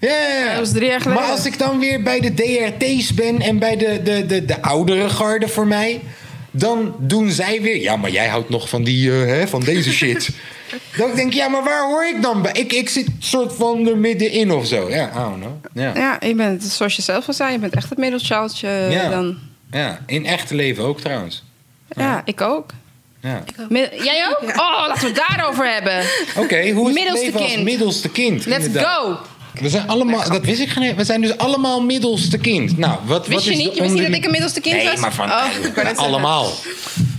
Speaker 1: Ja, ja, ja.
Speaker 2: Dat was drie jaar geleden.
Speaker 1: Maar als ik dan weer bij de DRT's ben en bij de, de, de, de oudere garde voor mij... dan doen zij weer... Ja, maar jij houdt nog van, die, eh, hè, van deze shit. dan denk ik, ja, maar waar hoor ik dan bij? Ik, ik zit soort van er middenin of zo. Ja, I don't know. Ja.
Speaker 2: Ja, je bent, zoals je zelf al zei, je bent echt het middelchildje
Speaker 1: Ja.
Speaker 2: Eh, dan.
Speaker 1: Ja, in echte leven ook trouwens.
Speaker 2: Ja, ik ook.
Speaker 1: Ja.
Speaker 2: Mid- jij ook? Oh, laten we het daarover hebben.
Speaker 1: Oké, hoe is
Speaker 2: Middelste
Speaker 1: het leven als
Speaker 2: kind.
Speaker 1: middelste kind?
Speaker 2: Let's
Speaker 1: inderdaad?
Speaker 2: go.
Speaker 1: We zijn allemaal, dat wist ik geen. We zijn dus allemaal middelste kind. Nou, wat,
Speaker 2: Wist
Speaker 1: wat
Speaker 2: je
Speaker 1: is
Speaker 2: niet?
Speaker 1: de
Speaker 2: Je wist niet dat ik een
Speaker 1: onderli-
Speaker 2: middelste kind
Speaker 1: nee,
Speaker 2: was?
Speaker 1: maar van
Speaker 2: Oh, ik wou net zeggen.
Speaker 1: allemaal.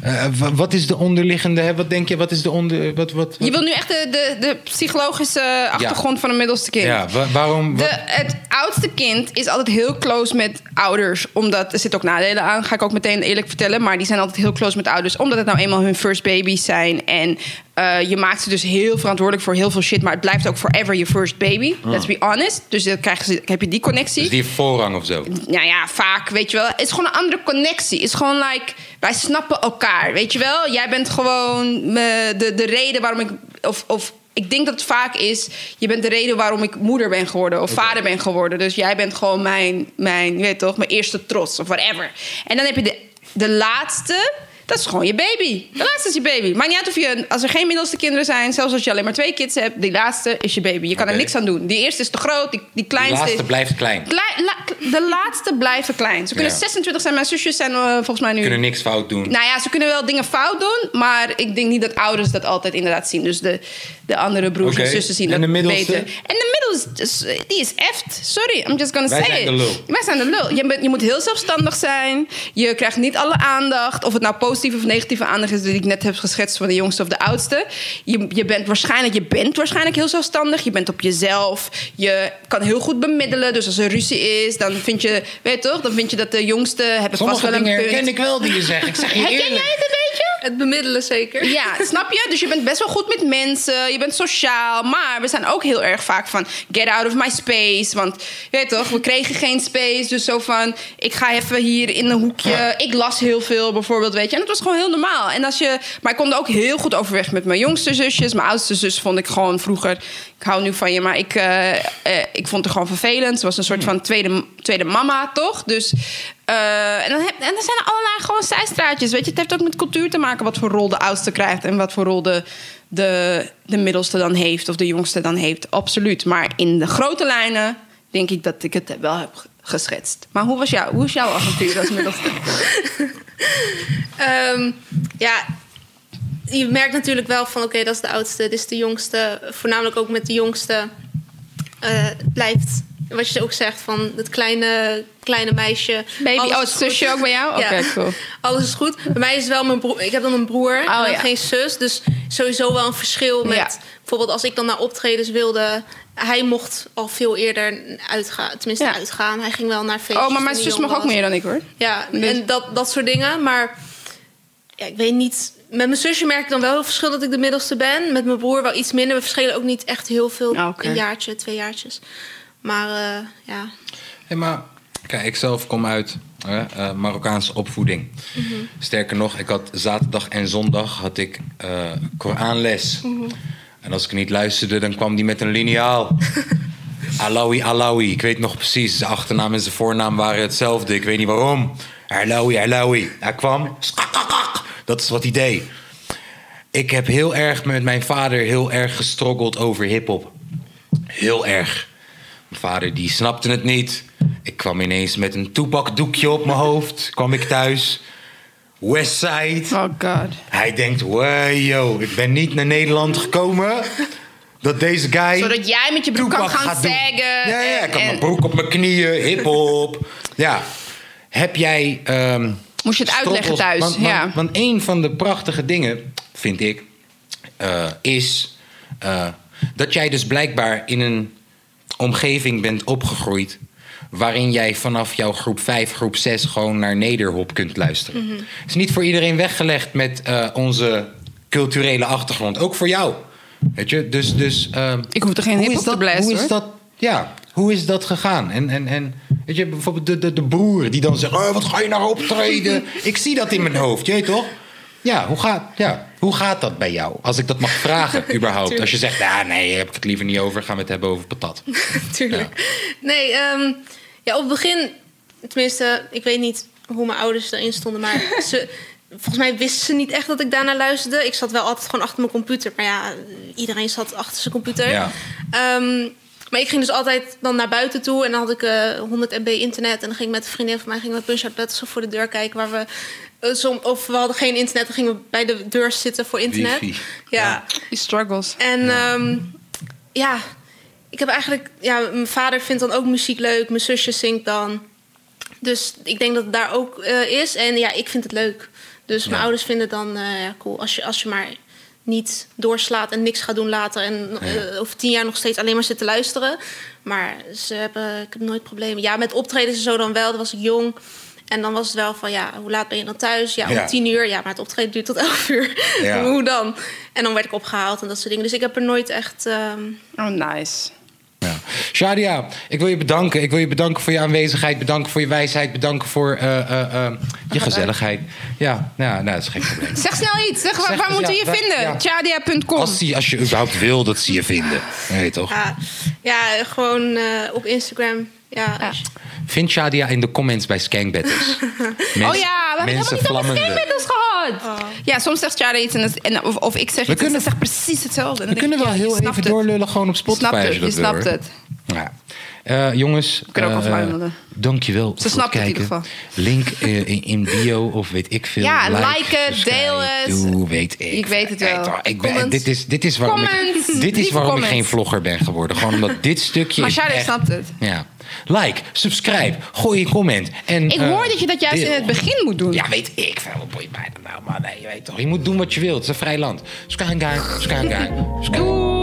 Speaker 1: Eh, wa- wat is de onderliggende? Hè? Wat denk je? Wat is de onder? Wat wat?
Speaker 2: Je wil nu echt de, de, de psychologische achtergrond van een middelste kind.
Speaker 1: ja, wa- waarom?
Speaker 2: De,
Speaker 1: wat-
Speaker 2: het oudste kind is altijd heel close met ouders. Omdat er zitten ook nadelen aan, ga ik ook meteen eerlijk vertellen. Maar die zijn altijd heel close met ouders. Omdat het nou eenmaal hun first baby's zijn. En eh, je maakt ze dus heel verantwoordelijk voor heel veel shit. Maar het blijft ook forever je first baby. Let's be honest. Dus dan krijgen ze, heb je die connectie.
Speaker 1: dus die heeft voorrang of zo?
Speaker 2: Nou ja, vaak, weet je wel. Het is gewoon een andere connectie. Het is gewoon like, wij snappen elkaar, weet je wel. Jij bent gewoon eh, de, de reden waarom ik... Of, of ik denk dat het vaak is, je bent de reden waarom ik moeder ben geworden. Of vader ben geworden. Dus jij bent gewoon mijn, mijn, je weet toch, mijn eerste trots of whatever. En dan heb je de, de laatste... Dat is gewoon je baby. De laatste is je baby. Maakt niet uit of je, als er geen middelste kinderen zijn, zelfs als je alleen maar twee kids hebt, die laatste is je baby. Je kan
Speaker 1: Oké.
Speaker 2: er niks aan doen. Die eerste is te groot, die, die
Speaker 1: De
Speaker 2: kleinste
Speaker 1: laatste
Speaker 2: is. Nou,
Speaker 1: blijft klein.
Speaker 2: Klei- la- de laatste blijven klein. Ze kunnen
Speaker 1: Ja.
Speaker 2: 26 zijn. Mijn zusjes zijn eh, volgens mij nu...
Speaker 1: Kunnen niks fout doen.
Speaker 2: Nou ja, ze kunnen wel dingen fout doen. Maar ik denk niet dat ouders dat altijd inderdaad zien. Dus de, de andere broers
Speaker 1: Oké.
Speaker 2: en zussen zien
Speaker 1: En
Speaker 2: dat
Speaker 1: de middelste?
Speaker 2: beter. En de middelste, is- dus, die is eft. Sorry, I'm just gonna
Speaker 1: Wij
Speaker 2: say
Speaker 1: zijn
Speaker 2: it.
Speaker 1: de lul.
Speaker 2: Wij zijn de lul. Je, bent, je moet heel zelfstandig zijn. Je krijgt niet alle aandacht. Of het nou positieve of negatieve aandacht is... die ik net heb geschetst van de jongste of de oudste. Je, je, bent, waarschijnlijk, je bent waarschijnlijk heel zelfstandig. Je bent op jezelf. Je kan heel goed bemiddelen. Dus als er ruzie is, dan vind je... Weet je toch? Dan vind je dat de jongste... hebben vast
Speaker 1: Sommige
Speaker 2: wel een
Speaker 1: dingen
Speaker 2: punt.
Speaker 1: herken ik wel die je zegt. Ik zeg je
Speaker 2: Herken jij
Speaker 1: eerlijk.
Speaker 2: het een beetje?
Speaker 3: Het bemiddelen zeker.
Speaker 2: Ja, snap je? Dus je bent best wel goed met mensen. Je bent sociaal. Maar we zijn ook heel erg vaak van... get out of my space. Want, je weet toch, we kregen geen space. Dus zo van, ik ga even hier in een hoekje. Ik las heel veel bijvoorbeeld, weet je. En dat was gewoon heel normaal. En als je, maar ik kon er ook heel goed overweg met mijn jongste zusjes. Mijn oudste zus vond ik gewoon vroeger... ik hou nu van je, maar ik, eh, eh, ik vond het gewoon vervelend. Ze was een soort van tweede, tweede mama, toch? Dus... Eh, en, dan heb, en dan zijn er allerlei gewoon zijstraatjes. Weet je, het heeft ook met cultuur te maken wat voor rol de oudste krijgt en wat voor rol de, de, de middelste dan heeft of de jongste dan heeft. Absoluut. Maar in de grote lijnen denk ik dat ik het wel heb g- geschetst. Maar hoe was jou, hoe is jouw avontuur als middelste?
Speaker 3: Ehm, ja, je merkt natuurlijk wel van oké, dat is de oudste, dit is de jongste. Voornamelijk ook met de jongste eh, het blijft, wat je ook zegt, van het kleine, kleine meisje.
Speaker 2: Baby,
Speaker 3: Alles
Speaker 2: oh, het
Speaker 3: is
Speaker 2: zusje
Speaker 3: goed.
Speaker 2: ook bij jou?
Speaker 3: Ja.
Speaker 2: Oké, cool.
Speaker 3: Alles is goed. Bij mij is het wel mijn broer. Ik heb dan een broer en
Speaker 2: Oh,
Speaker 3: dan
Speaker 2: ja.
Speaker 3: geen zus. Dus sowieso wel een verschil met
Speaker 2: Ja.
Speaker 3: bijvoorbeeld als ik dan naar optredens wilde. Hij mocht al veel eerder uitgaan. Tenminste,
Speaker 2: Ja.
Speaker 3: uitgaan. Hij ging wel naar feestjes.
Speaker 2: Oh, maar mijn
Speaker 3: toen hij
Speaker 2: zus
Speaker 3: jong
Speaker 2: mag ook
Speaker 3: was.
Speaker 2: meer dan ik hoor.
Speaker 3: Ja,
Speaker 2: Dus-
Speaker 3: en dat, dat soort dingen. Maar ja, ik weet niet. Met mijn zusje merk ik dan wel het verschil dat ik de middelste ben. Met mijn broer wel iets minder. We verschillen ook niet echt heel veel.
Speaker 2: Ah, oké.
Speaker 3: Een jaartje, twee jaartjes. Maar eh, ja.
Speaker 1: Hey, maar kijk, ik zelf kom uit hè, eh, Marokkaanse opvoeding.
Speaker 2: Mhm.
Speaker 1: Sterker nog, ik had zaterdag en zondag had ik eh, Koranles.
Speaker 2: Mhm.
Speaker 1: En als ik niet luisterde, dan kwam die met een liniaal. Alawi, Alawi. Ik weet nog precies, zijn achternaam en zijn voornaam waren hetzelfde. Ik weet niet waarom. Alawi, Alawi. Hij kwam. skakakak. Dat is wat hij deed. Ik heb heel erg met mijn vader heel erg gestroggeld over hip-hop. Heel erg. Mijn vader die snapte het niet. Ik kwam ineens met een toepakdoekje op mijn hoofd. Kwam ik thuis. Westside.
Speaker 2: Oh god.
Speaker 1: Hij denkt, wow, yo, ik ben niet naar Nederland gekomen. Dat deze guy...
Speaker 2: Zodat jij met je broek kan
Speaker 1: Tupac
Speaker 2: gaan
Speaker 1: gaat doen.
Speaker 2: zeggen.
Speaker 1: Ja, ja,
Speaker 2: en-
Speaker 1: ik had
Speaker 2: en-
Speaker 1: mijn broek op mijn knieën, hip-hop. ja. Heb jij. ehm,
Speaker 2: Moest je het uitleggen
Speaker 1: strottels-
Speaker 2: thuis,
Speaker 1: Want, want-
Speaker 2: ja.
Speaker 1: want een van de prachtige dingen, vind ik, eh, is eh, dat jij dus blijkbaar in een omgeving bent opgegroeid. Waarin jij vanaf jouw groep 5, groep 6 gewoon naar Nederhop kunt luisteren.
Speaker 2: Mhm.
Speaker 1: Het is niet voor iedereen weggelegd met eh, onze culturele achtergrond. Ook voor jou. Weet je? Dus, dus, ehm,
Speaker 2: Ik hoef er geen
Speaker 1: hoe
Speaker 2: hip
Speaker 1: is
Speaker 2: op te
Speaker 1: dat,
Speaker 2: blazen,
Speaker 1: hoe is
Speaker 2: hoor.
Speaker 1: dat, ja, hoe is dat gegaan? En, en, en weet je, bijvoorbeeld de, de, de broer die dan zegt, "Eh, wat ga je nou optreden? ik zie dat in mijn hoofd, je weet toch? Ja hoe, gaat, ja, hoe gaat dat bij jou? Als ik dat mag vragen, überhaupt. Als je zegt, "Nou, nee, daar heb ik het liever niet over. Gaan we het hebben over patat.
Speaker 3: Tuurlijk. Nee, ehm, ja, op het begin, tenminste, ik weet niet hoe mijn ouders erin stonden, maar ze, volgens mij wisten ze niet echt dat ik daarna luisterde. Ik zat wel altijd gewoon achter mijn computer, maar ja, iedereen zat achter zijn computer.
Speaker 1: Ja.
Speaker 3: Ehm, maar ik ging dus altijd dan naar buiten toe en dan had ik eh, 100 MB internet. En dan ging ik met een vriendin van mij gingen we Punch Out Battles voor de deur kijken. Waar we, eh, som, of we hadden geen internet, dan gingen we bij de deur zitten voor internet.
Speaker 1: Wifi.
Speaker 3: ja.
Speaker 2: Die struggles.
Speaker 3: En ja. ja, ik heb eigenlijk... Ja, mijn vader vindt dan ook muziek leuk. Mijn zusje zingt dan. Dus ik denk dat het daar ook eh, is. En ja, ik vind het leuk. Dus mijn
Speaker 1: Ja.
Speaker 3: ouders vinden het dan eh, ja, cool. Als je, als je maar niet doorslaat en niks gaat doen later. En
Speaker 1: Ja.
Speaker 3: eh, over tien jaar nog steeds alleen maar zit te luisteren. Maar ze hebben, ik heb nooit problemen. Ja, met optredens en zo dan wel. Dan was ik jong. En dan was het wel van, ja, hoe laat ben je dan thuis? Ja, om
Speaker 1: Ja.
Speaker 3: tien uur. Ja, maar het optreden duurt tot elf uur.
Speaker 1: Ja.
Speaker 3: hoe dan? En dan werd ik opgehaald en dat soort dingen. Dus ik heb er nooit echt... ehm,
Speaker 2: Oh, nice.
Speaker 1: Ja. Shadia, ik wil je bedanken. Ik wil je bedanken voor je aanwezigheid. Bedanken voor je wijsheid. Bedanken voor eh, eh, eh, je gezelligheid. Ja, nou, nou, dat is geen probleem.
Speaker 2: Zeg snel iets. Zeg, waar,
Speaker 1: Zeg
Speaker 2: waar
Speaker 1: eens,
Speaker 2: moeten we
Speaker 1: ja,
Speaker 2: je
Speaker 1: waar-
Speaker 2: vinden?
Speaker 1: ja.
Speaker 2: Chadia.com.
Speaker 1: Als, die, als je überhaupt wil dat ze je vinden. Je weet toch?
Speaker 3: ja, ja, gewoon eh, op Instagram. Ja,
Speaker 2: Ja.
Speaker 1: Vind Shadia in de comments bij Skank Battles. Mensen-
Speaker 2: Oh ja, we hebben het
Speaker 1: mensen
Speaker 2: helemaal niet over
Speaker 1: vlammende.
Speaker 2: stemmiddels gehad. Ja, soms zegt Chadia iets en, het- en of, of ik zeg iets
Speaker 1: kunnen-
Speaker 2: en ze zegt precies hetzelfde. En
Speaker 1: We
Speaker 2: dan
Speaker 1: kunnen
Speaker 2: denk ik,
Speaker 1: wel
Speaker 2: ja, je
Speaker 1: heel even
Speaker 2: snapt het.
Speaker 1: doorlullen gewoon op Spotify.
Speaker 2: Snapt
Speaker 1: als
Speaker 2: het,
Speaker 1: je
Speaker 2: je
Speaker 1: dat wil,
Speaker 2: snapt
Speaker 1: hoor.
Speaker 2: het.
Speaker 1: Ja. Eh, jongens,
Speaker 2: kunnen ook
Speaker 1: eh,
Speaker 2: afruimelen.
Speaker 1: dankjewel voor
Speaker 2: snapt het in
Speaker 1: kijken.
Speaker 2: ieder
Speaker 1: Link eh, in, in bio of weet ik veel.
Speaker 2: Ja, like het,
Speaker 1: subscribe,
Speaker 2: deel het.
Speaker 1: Doe, weet ik.
Speaker 2: Ik weet het wel.
Speaker 1: Weet toch, Ik ben,
Speaker 2: Comments.
Speaker 1: dit, is, dit is waarom,
Speaker 2: Comments.
Speaker 1: ik, dit is
Speaker 2: Lieve
Speaker 1: waarom ik
Speaker 2: comments.
Speaker 1: geen vlogger ben geworden. Gewoon omdat dit stukje
Speaker 2: Maar
Speaker 1: is
Speaker 2: Shadia
Speaker 1: echt-
Speaker 2: snapt het.
Speaker 1: Ja. Like, subscribe, gooi een comment. En, eh,
Speaker 2: Ik hoor dat je dat juist in het begin moet doen.
Speaker 1: ja, weet ik veel. Wat boeit mij dat nou, man? Nee, je weet toch. Je moet doen wat je wilt. Het is een vrij land. Skangaar, skangaar, skangaar.